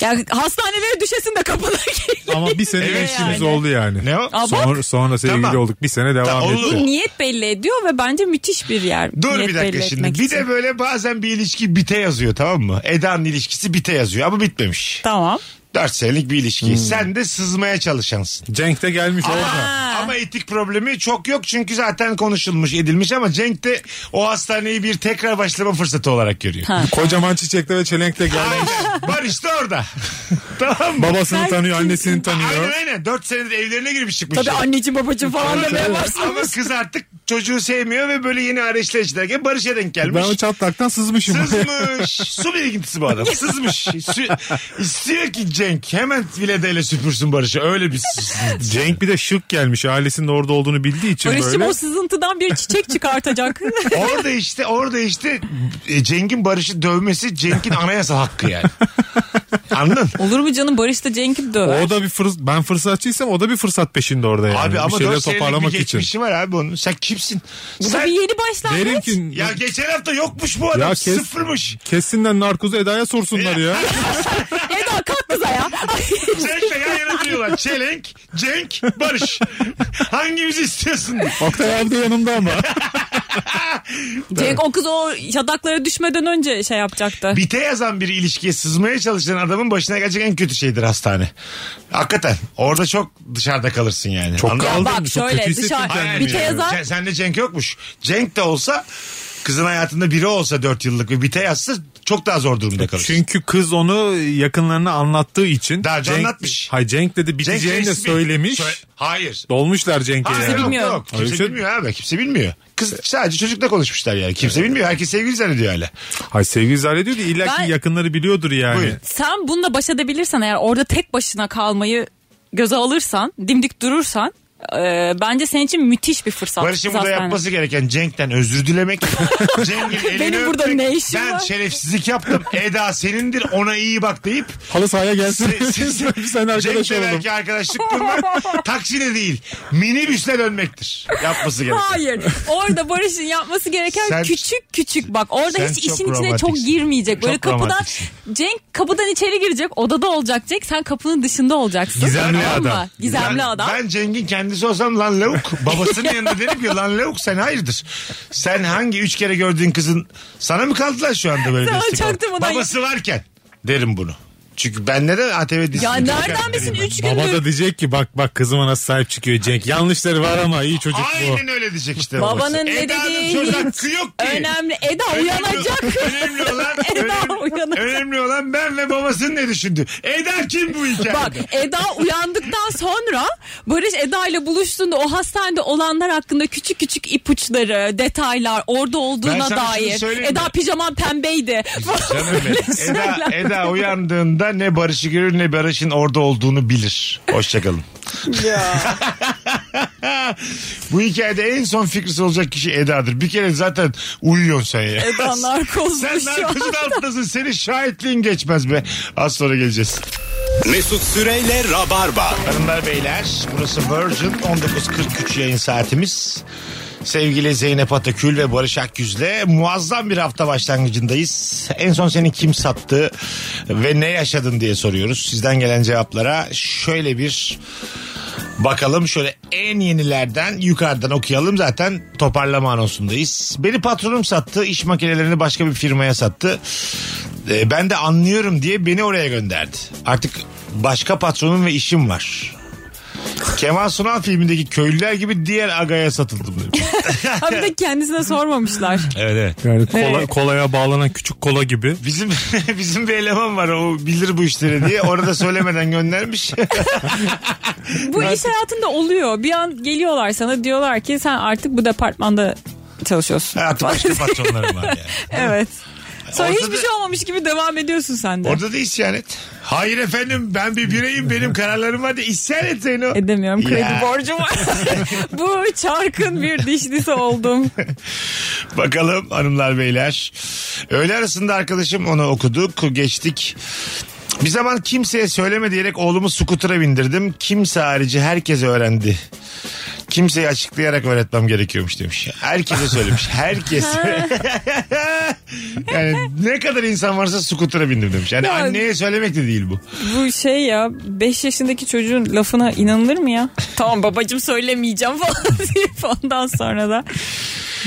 Speaker 2: Ya hastanelere düşesin de kapına geliyor.
Speaker 3: Ama bir sene
Speaker 2: Evet
Speaker 3: ilişkimiz
Speaker 2: yani.
Speaker 3: oldu yani.
Speaker 1: Ne o?
Speaker 2: Aa, bak.
Speaker 3: Sonra, sonra sevgili
Speaker 1: Tamam.
Speaker 3: olduk. Bir sene devam
Speaker 1: Tamam,
Speaker 3: etti.
Speaker 1: olur.
Speaker 2: Niyet belli ediyor ve bence müthiş bir yer.
Speaker 1: Dur
Speaker 2: niyet
Speaker 1: bir
Speaker 2: belli
Speaker 1: dakika şimdi.
Speaker 2: etmek
Speaker 1: Bir
Speaker 2: için.
Speaker 1: de böyle bazen bir ilişki bite yazıyor tamam mı? Eda'nın ilişkisi bite yazıyor ama bitmemiş.
Speaker 2: Tamam.
Speaker 1: Dört senelik bir ilişki.
Speaker 3: Hmm.
Speaker 1: Sen de sızmaya çalışansın.
Speaker 3: Cenk de gelmiş orada.
Speaker 2: Ha.
Speaker 1: Ama etik problemi çok yok çünkü zaten konuşulmuş edilmiş ama Cenk de o hastaneyi bir tekrar başlama fırsatı olarak görüyor.
Speaker 3: Kocaman çiçekle ve çelenk de gelmiş.
Speaker 1: Aynen. Barış da orada. tamam mı?
Speaker 3: Babasını
Speaker 2: Ben
Speaker 3: tanıyor, annesini
Speaker 1: Aynen
Speaker 3: tanıyor.
Speaker 1: aynen. Dört senedir evlerine girmiş çıkmış.
Speaker 2: Tabii anneciğim babacığım falan demeye
Speaker 1: şey. Ama
Speaker 2: başlamış.
Speaker 1: kız artık çocuğu sevmiyor ve böyle yeni arayışlar içindeyken Barış'a denk
Speaker 3: Ben
Speaker 1: gelmiş.
Speaker 3: o çatlaktan sızmışım.
Speaker 1: Sızmış. Su birikintisi bu adam. Sızmış. Sü- İstiyor ki Cenk hemen viledeyle süpürsün Barış'ı. Öyle bir sızmış.
Speaker 3: Cenk bir de şık gelmiş. Ailesinin orada olduğunu bildiği için
Speaker 2: Barış'cığım
Speaker 3: böyle.
Speaker 2: o sızıntıdan bir çiçek çıkartacak.
Speaker 1: Orada işte orada işte e, Cenk'in Barış'ı dövmesi Cenk'in anayasa hakkı yani. Anladın?
Speaker 2: Olur mu canım Barış da Cenk'i döver.
Speaker 3: O da bir fırs ben fırsatçıysam o da bir fırsat peşinde orada yani.
Speaker 1: abi
Speaker 3: bir
Speaker 1: ama
Speaker 3: şeyler
Speaker 1: 4 senelik
Speaker 3: toparlamak
Speaker 1: bir
Speaker 3: için.
Speaker 1: geçmişi var abi onun. Sen kimsin?
Speaker 2: Bu da
Speaker 1: Sen-
Speaker 2: bir yeni başlangıç.
Speaker 3: Derim ki
Speaker 1: Ya geçen hafta yokmuş bu adam.
Speaker 3: Ya kes-
Speaker 1: Sıfırmış.
Speaker 3: kesinler narkozu Eda'ya sorsunlar ya.
Speaker 2: Eda kalk kıza ya.
Speaker 1: Cenk'le yan yana duruyorlar. Çelenk, Cenk, Barış. Hangimizi istiyorsun?
Speaker 3: Oktay abi de yanımda ama.
Speaker 2: Cenk o kız o yataklara düşmeden önce şey yapacaktı.
Speaker 1: Bite yazan bir ilişkiye sızmaya çalışan adamın başına gelecek en kötü şeydir hastane. Hakikaten. Orada çok dışarıda kalırsın yani.
Speaker 3: Çok
Speaker 1: Anladın mı?
Speaker 3: kaldım.
Speaker 2: Bak
Speaker 3: Çok
Speaker 2: şöyle
Speaker 3: kötü hissettim
Speaker 2: dışarı
Speaker 3: kendimi
Speaker 2: bite
Speaker 1: yani.
Speaker 2: yazan
Speaker 1: Sen- Sende Cenk yokmuş. Cenk de olsa kızın hayatında biri olsa 4 yıllık ve bite yazsa çok daha zor durumda kalır.
Speaker 3: Çünkü kız onu yakınlarına anlattığı için.
Speaker 1: Daha önce anlatmış.
Speaker 3: Hay Cenk dedi biteceğini de
Speaker 1: resmi-
Speaker 3: söylemiş.
Speaker 1: Söyle- Hayır.
Speaker 3: Dolmuşlar Cenk'e.
Speaker 1: Hayır,
Speaker 3: yani.
Speaker 1: yok,
Speaker 2: bilmiyor.
Speaker 1: yok.
Speaker 3: Öyle
Speaker 1: Kimse
Speaker 3: bir şey-
Speaker 1: bilmiyor abi. Kimse bilmiyor. Kız sadece çocukla konuşmuşlar yani. Kimse bilmiyor. Herkes sevgili zannediyor hala.
Speaker 3: Hay sevgili zannediyor da illa ki
Speaker 2: Ben-
Speaker 3: yakınları biliyordur yani.
Speaker 1: Buyurun.
Speaker 2: sen bununla baş edebilirsen eğer orada tek başına kalmayı göze alırsan dimdik durursan e, bence senin için müthiş bir fırsat.
Speaker 1: Barış'ın burada
Speaker 2: Zaten.
Speaker 1: yapması gereken Cenk'ten özür dilemek. Cenk'in elini
Speaker 2: Benim burada
Speaker 1: öpmek,
Speaker 2: ne işim
Speaker 1: ben
Speaker 2: var?"
Speaker 1: şerefsizlik yaptım. Eda senindir ona iyi bak deyip
Speaker 3: Halı sahaya gelsin.
Speaker 1: siz
Speaker 3: Sen arkadaş
Speaker 1: Cenk'le
Speaker 3: olalım.
Speaker 1: belki arkadaşlık kurmak taksine değil minibüsle dönmektir. Yapması gereken.
Speaker 2: Hayır. Orada Barış'ın yapması gereken
Speaker 1: Sen-
Speaker 2: küçük küçük bak. Orada
Speaker 1: Sen
Speaker 2: hiç
Speaker 1: çok
Speaker 2: işin içine çok
Speaker 1: romantiksin.
Speaker 2: girmeyecek. Böyle
Speaker 1: Çok
Speaker 2: kapıdan
Speaker 1: romantiksin.
Speaker 2: Cenk kapıdan içeri girecek. Odada olacak Cenk. Sen kapının dışında olacaksın.
Speaker 3: Gizemli
Speaker 2: mı?
Speaker 3: adam.
Speaker 2: Gizemli
Speaker 1: ben,
Speaker 2: adam.
Speaker 1: Ben Cenk'in kendisi olsam lan lavuk. Babasının yanında derim ki lan lavuk sen hayırdır. Sen hangi üç kere gördüğün kızın sana mı kaldı lan şu anda böyle
Speaker 2: Sen
Speaker 1: destek al?
Speaker 2: çaktırmadan-
Speaker 1: Babası varken derim bunu. Çünkü ben neden ATV dizisi?
Speaker 2: ya nereden misin 3
Speaker 3: Baba da
Speaker 2: gündür?
Speaker 3: diyecek ki bak bak kızıma nasıl sahip çıkıyor Cenk. Yanlışları var ama iyi çocuk bu.
Speaker 1: Aynen öyle diyecek işte. babası.
Speaker 2: Babanın ne
Speaker 1: Eda'nın
Speaker 2: dediği
Speaker 1: söz
Speaker 2: hiç
Speaker 1: hakkı yok ki.
Speaker 2: önemli. Eda uyanacak.
Speaker 1: Önemli olan,
Speaker 2: Eda
Speaker 1: önemli,
Speaker 2: uyanacak.
Speaker 1: önemli olan ben ve babasının ne düşündü. Eda kim bu hikayede?
Speaker 2: Bak Eda uyandıktan sonra Barış Eda ile buluştuğunda o hastanede olanlar hakkında küçük küçük ipuçları, detaylar, orada
Speaker 1: Ben
Speaker 2: olduğuna
Speaker 1: sana şunu
Speaker 2: dair.
Speaker 1: söyleyeyim
Speaker 2: Eda
Speaker 1: mi?
Speaker 2: pijaman pembeydi.
Speaker 1: Canım benim. Eda, Eda uyandığında ne Barış'ı görür ne Barış'ın orada olduğunu bilir. Hoşçakalın. Bu hikayede en son fikrisi olacak kişi Eda'dır. Bir kere zaten uyuyorsun sen ya.
Speaker 2: Eda narkozmuş
Speaker 1: sen
Speaker 2: şu an.
Speaker 1: narkozun altındasın. Senin şahitliğin geçmez be. Az sonra geleceğiz.
Speaker 7: Mesut Süreyle Rabarba.
Speaker 1: Hanımlar beyler burası Virgin 19.43 yayın saatimiz. Sevgili Zeynep Atakül ve Barış Akgüz'le muazzam bir hafta başlangıcındayız. En son seni kim sattı ve ne yaşadın diye soruyoruz. Sizden gelen cevaplara şöyle bir bakalım. Şöyle en yenilerden yukarıdan okuyalım. Zaten toparlama anonsundayız. Beni patronum sattı. iş makinelerini başka bir firmaya sattı. E, ben de anlıyorum diye beni oraya gönderdi. Artık başka patronum ve işim var. Kemal Sunal filmindeki köylüler gibi diğer agaya satıldım demiş.
Speaker 2: Ha bir de kendisine sormamışlar.
Speaker 1: evet evet.
Speaker 3: Yani kola- kolaya bağlanan küçük kola gibi.
Speaker 1: Bizim bizim bir eleman var o bilir bu işleri diye orada söylemeden göndermiş.
Speaker 2: Bu iş hayatında oluyor. Bir an geliyorlar sana diyorlar ki sen artık bu departmanda çalışıyorsun.
Speaker 1: Artık başka patronlarım var yani.
Speaker 2: Evet. Sonra
Speaker 1: Orada
Speaker 2: hiçbir
Speaker 1: da-
Speaker 2: şey olmamış gibi devam ediyorsun sen de.
Speaker 1: Orada da isyan et. Hayır efendim ben bir bireyim benim kararlarım var diye isyan et Zeyno.
Speaker 2: Edemiyorum kredi
Speaker 1: Ya.
Speaker 2: borcum var. bu çarkın bir dişlisi oldum.
Speaker 1: Bakalım hanımlar beyler. Öğle arasında arkadaşım onu okuduk geçtik. Bir zaman kimseye söyleme diyerek oğlumu skutura bindirdim. Kimse harici herkes öğrendi. Kimseyi açıklayarak öğretmem gerekiyormuş demiş. Herkese söylemiş. Herkese. yani ne kadar insan varsa skutura bindim demiş. Yani
Speaker 2: Ya-
Speaker 1: anneye söylemek de değil bu.
Speaker 2: Bu şey ya 5 yaşındaki çocuğun lafına inanılır mı ya? tamam babacım söylemeyeceğim falan deyip ondan sonra da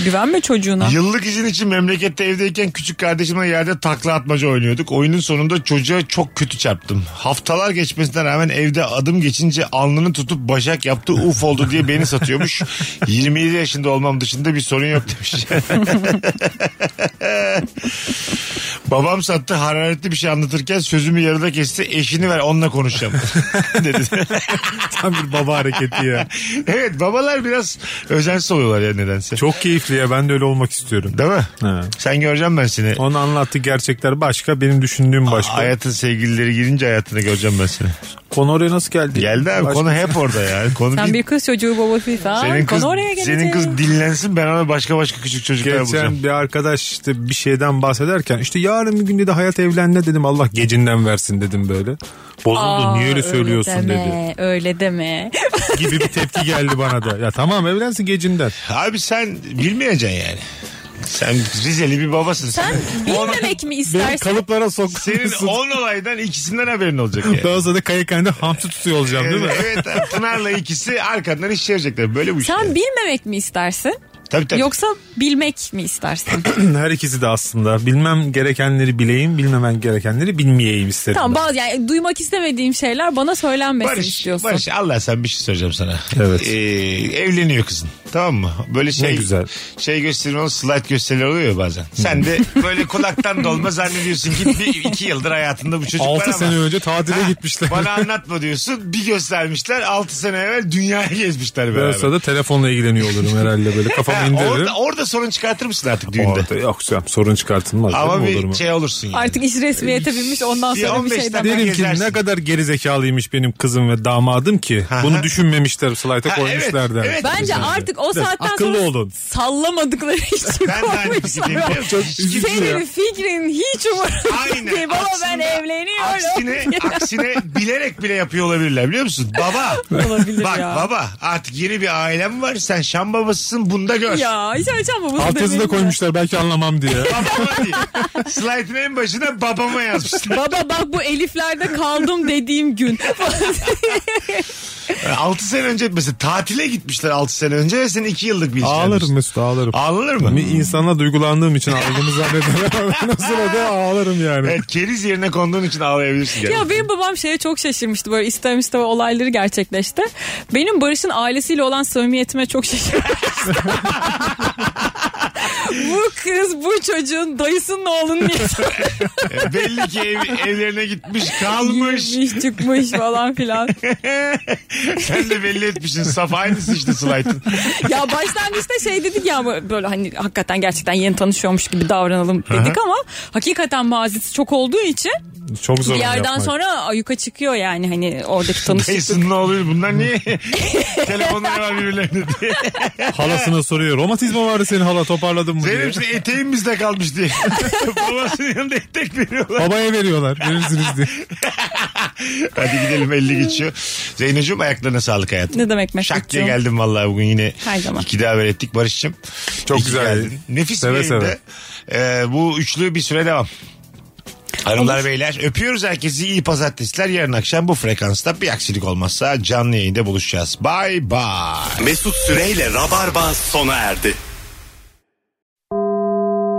Speaker 2: güvenme çocuğuna.
Speaker 1: Yıllık izin için memlekette evdeyken küçük kardeşimle yerde takla atmaca oynuyorduk. Oyunun sonunda çocuğa çok kötü çarptım. Haftalar geçmesine rağmen evde adım geçince alnını tutup başak yaptı uf oldu diye beni satıyormuş. 27 yaşında olmam dışında bir sorun yok demiş. Babam sattı hararetli bir şey anlatırken sözümü yarıda kesti eşini ver onunla konuşacağım dedi.
Speaker 3: Tam bir baba hareketi ya.
Speaker 1: evet babalar biraz özensiz oluyorlar ya nedense.
Speaker 3: Çok keyifli ya ben de öyle olmak istiyorum.
Speaker 1: Değil mi?
Speaker 3: Ha.
Speaker 1: Sen göreceğim ben seni.
Speaker 3: Onun anlattığı gerçekler başka benim düşündüğüm başka.
Speaker 1: Hayatın sevgilileri girince hayatını göreceğim ben seni.
Speaker 3: Konu oraya nasıl geldi?
Speaker 1: Geldi abi
Speaker 3: Başka-
Speaker 1: konu hep orada ya. Konu
Speaker 2: Sen
Speaker 1: bir-
Speaker 2: bir kız çocuğu babası falan.
Speaker 1: senin kız,
Speaker 2: konu oraya gelecek.
Speaker 1: senin kız dinlensin ben ona başka başka küçük çocuklar bulacağım.
Speaker 3: Geçen bir arkadaş işte bir şeyden bahsederken işte yarın bir gün dedi hayat evlenme dedim Allah gecinden versin dedim böyle. Bozuldu
Speaker 2: Aa,
Speaker 3: niye öyle söylüyorsun dedi.
Speaker 2: deme, Öyle deme.
Speaker 3: Gibi bir tepki geldi bana da. Ya tamam evlensin gecinden.
Speaker 1: Abi sen bilmeyeceksin yani. Sen Rizeli bir babasın.
Speaker 2: Sen bilmemek mi
Speaker 3: Benim
Speaker 2: istersin?
Speaker 3: kalıplara
Speaker 1: Senin
Speaker 3: sokmuşsun.
Speaker 1: 10 olaydan ikisinden haberin olacak yani.
Speaker 3: Daha sonra da kayıkhanede hamsi tutuyor olacağım değil mi?
Speaker 1: evet Pınar'la ikisi arkandan iş çevirecekler. Böyle bu iş.
Speaker 2: Sen
Speaker 1: yani.
Speaker 2: bilmemek mi istersin?
Speaker 1: Tabii şey. tabii.
Speaker 2: Yoksa bilmek mi istersin?
Speaker 3: Her ikisi de aslında. Bilmem gerekenleri bileyim, bilmemen gerekenleri bilmeyeyim isterim.
Speaker 2: tamam
Speaker 3: ben.
Speaker 2: bazı yani duymak istemediğim şeyler bana söylenmesin
Speaker 1: Barış,
Speaker 2: istiyorsun.
Speaker 1: Barış Allah sen bir şey soracağım sana.
Speaker 3: Evet.
Speaker 1: Ee, evleniyor kızın. Tamam mı? Böyle şey
Speaker 3: güzel.
Speaker 1: şey gösteriyor, slide gösteriler oluyor ya bazen. Sen de böyle kulaktan dolma zannediyorsun ki bir, iki yıldır hayatında bu çocuk var
Speaker 3: Altı
Speaker 1: ama-
Speaker 3: sene önce tatile
Speaker 1: Ha,
Speaker 3: gitmişler.
Speaker 1: Bana anlatma diyorsun. Bir göstermişler 6 sene evvel dünyayı gezmişler
Speaker 3: Ben
Speaker 1: beraber.
Speaker 3: olsa da telefonla ilgileniyor olurum herhalde böyle
Speaker 1: Ha,
Speaker 3: kafamı indiririm.
Speaker 1: orada, orada sorun çıkartır mısın artık düğünde?
Speaker 3: Orada yok canım, sorun çıkartılmaz.
Speaker 1: Ama
Speaker 3: canım, olur
Speaker 1: bir
Speaker 3: mu?
Speaker 1: şey olursun yani.
Speaker 2: Artık iş resmiyete binmiş ondan
Speaker 1: Bir
Speaker 2: sonra bir şey
Speaker 1: 15
Speaker 2: şeyden.
Speaker 1: dakika-
Speaker 3: Derim ki
Speaker 1: gezersin.
Speaker 3: ne kadar geri zekalıymış benim kızım ve damadım ki.
Speaker 1: Ha, ha.
Speaker 3: Bunu düşünmemişler slayta
Speaker 1: Ha,
Speaker 3: koymuşlar
Speaker 1: evet,
Speaker 3: der.
Speaker 1: evet.
Speaker 2: Bence artık o saatten
Speaker 3: akıllı
Speaker 2: sonra
Speaker 3: olun.
Speaker 2: sallamadıkları için
Speaker 1: ben de aynı
Speaker 2: koymuşlar.
Speaker 1: fikirdeyim. biliyor musun? Hiç kimse-
Speaker 2: Senin fikrin hiç
Speaker 1: Aynen.
Speaker 2: umurumda değil. Baba ben
Speaker 1: Aslında
Speaker 2: evleniyorum.
Speaker 1: Aksine, aksine bilerek bile yapıyor olabilirler biliyor musun? Baba.
Speaker 2: Olabilir
Speaker 1: Bak
Speaker 2: ya.
Speaker 1: baba artık yeni bir ailem var. Sen şam babasısın bunda gör.
Speaker 2: Ya hiç açan babası
Speaker 3: Alt yazı da
Speaker 2: demeyin ya.
Speaker 3: koymuşlar belki anlamam diye.
Speaker 1: Babama diye. Slide'ın en başına babama yazmışlar.
Speaker 2: Baba bak bu Elif'lerde kaldım dediğim gün.
Speaker 1: 6 sene önce mesela tatile gitmişler 6 sene önce ve senin 2 yıllık bir ilişkin.
Speaker 3: ağlarım Mesut ağlarım.
Speaker 1: Ağlanır mı?
Speaker 3: Bir insana duygulandığım için ağladığımı zannederim. o sırada ağlarım yani.
Speaker 1: Evet keriz yerine konduğun için ağlayabilirsin. gerçekten.
Speaker 2: ya benim babam şeye çok şaşırmıştı böyle ister istemez olayları gerçekleşti. Benim Barış'ın ailesiyle olan samimiyetime çok şaşırmıştı. bu kız bu çocuğun dayısının oğlunu niye
Speaker 1: E, Belli ki ev- evlerine gitmiş kalmış.
Speaker 2: girmiş çıkmış falan filan.
Speaker 1: Sen de belli etmişsin. Saf aynısı işte slide'ın.
Speaker 2: ya başlangıçta şey dedik ya ama böyle hani hakikaten gerçekten yeni tanışıyormuş gibi davranalım dedik ama hakikaten mazisi çok olduğu için
Speaker 3: Çok zor
Speaker 2: bir yerden
Speaker 3: yapmak.
Speaker 2: sonra ayuka çıkıyor yani hani oradaki tanışıklık.
Speaker 1: Dayısının oğluyla bunlar niye telefonları var birbirlerine diye.
Speaker 3: Halasına soruyor. Romatizma vardı senin hala toparladın mı diye.
Speaker 1: Zeynep işte eteğim bizde kalmış diye. Babasının yanında etek veriyorlar.
Speaker 3: Babaya veriyorlar. Verirsiniz diye.
Speaker 1: Hadi gidelim 50 geçiyor. Zeynep'ciğim ayaklarına sağlık hayatım.
Speaker 2: Ne demek
Speaker 1: Şak diye
Speaker 2: Mesut'cuğum?
Speaker 1: geldim vallahi bugün yine.
Speaker 2: Her zaman.
Speaker 1: İki daha haber ettik Barış'cığım.
Speaker 3: Çok
Speaker 1: İyi ki
Speaker 3: güzel.
Speaker 1: geldin. Nefis
Speaker 3: Seve
Speaker 1: bir yayında.
Speaker 3: seve.
Speaker 1: Ee, bu üçlü bir süre devam. Hanımlar beyler öpüyoruz herkesi iyi pazartesiler yarın akşam bu frekansta bir aksilik olmazsa canlı yayında buluşacağız. Bye bye.
Speaker 7: Mesut Süreyle Rabarba sona erdi.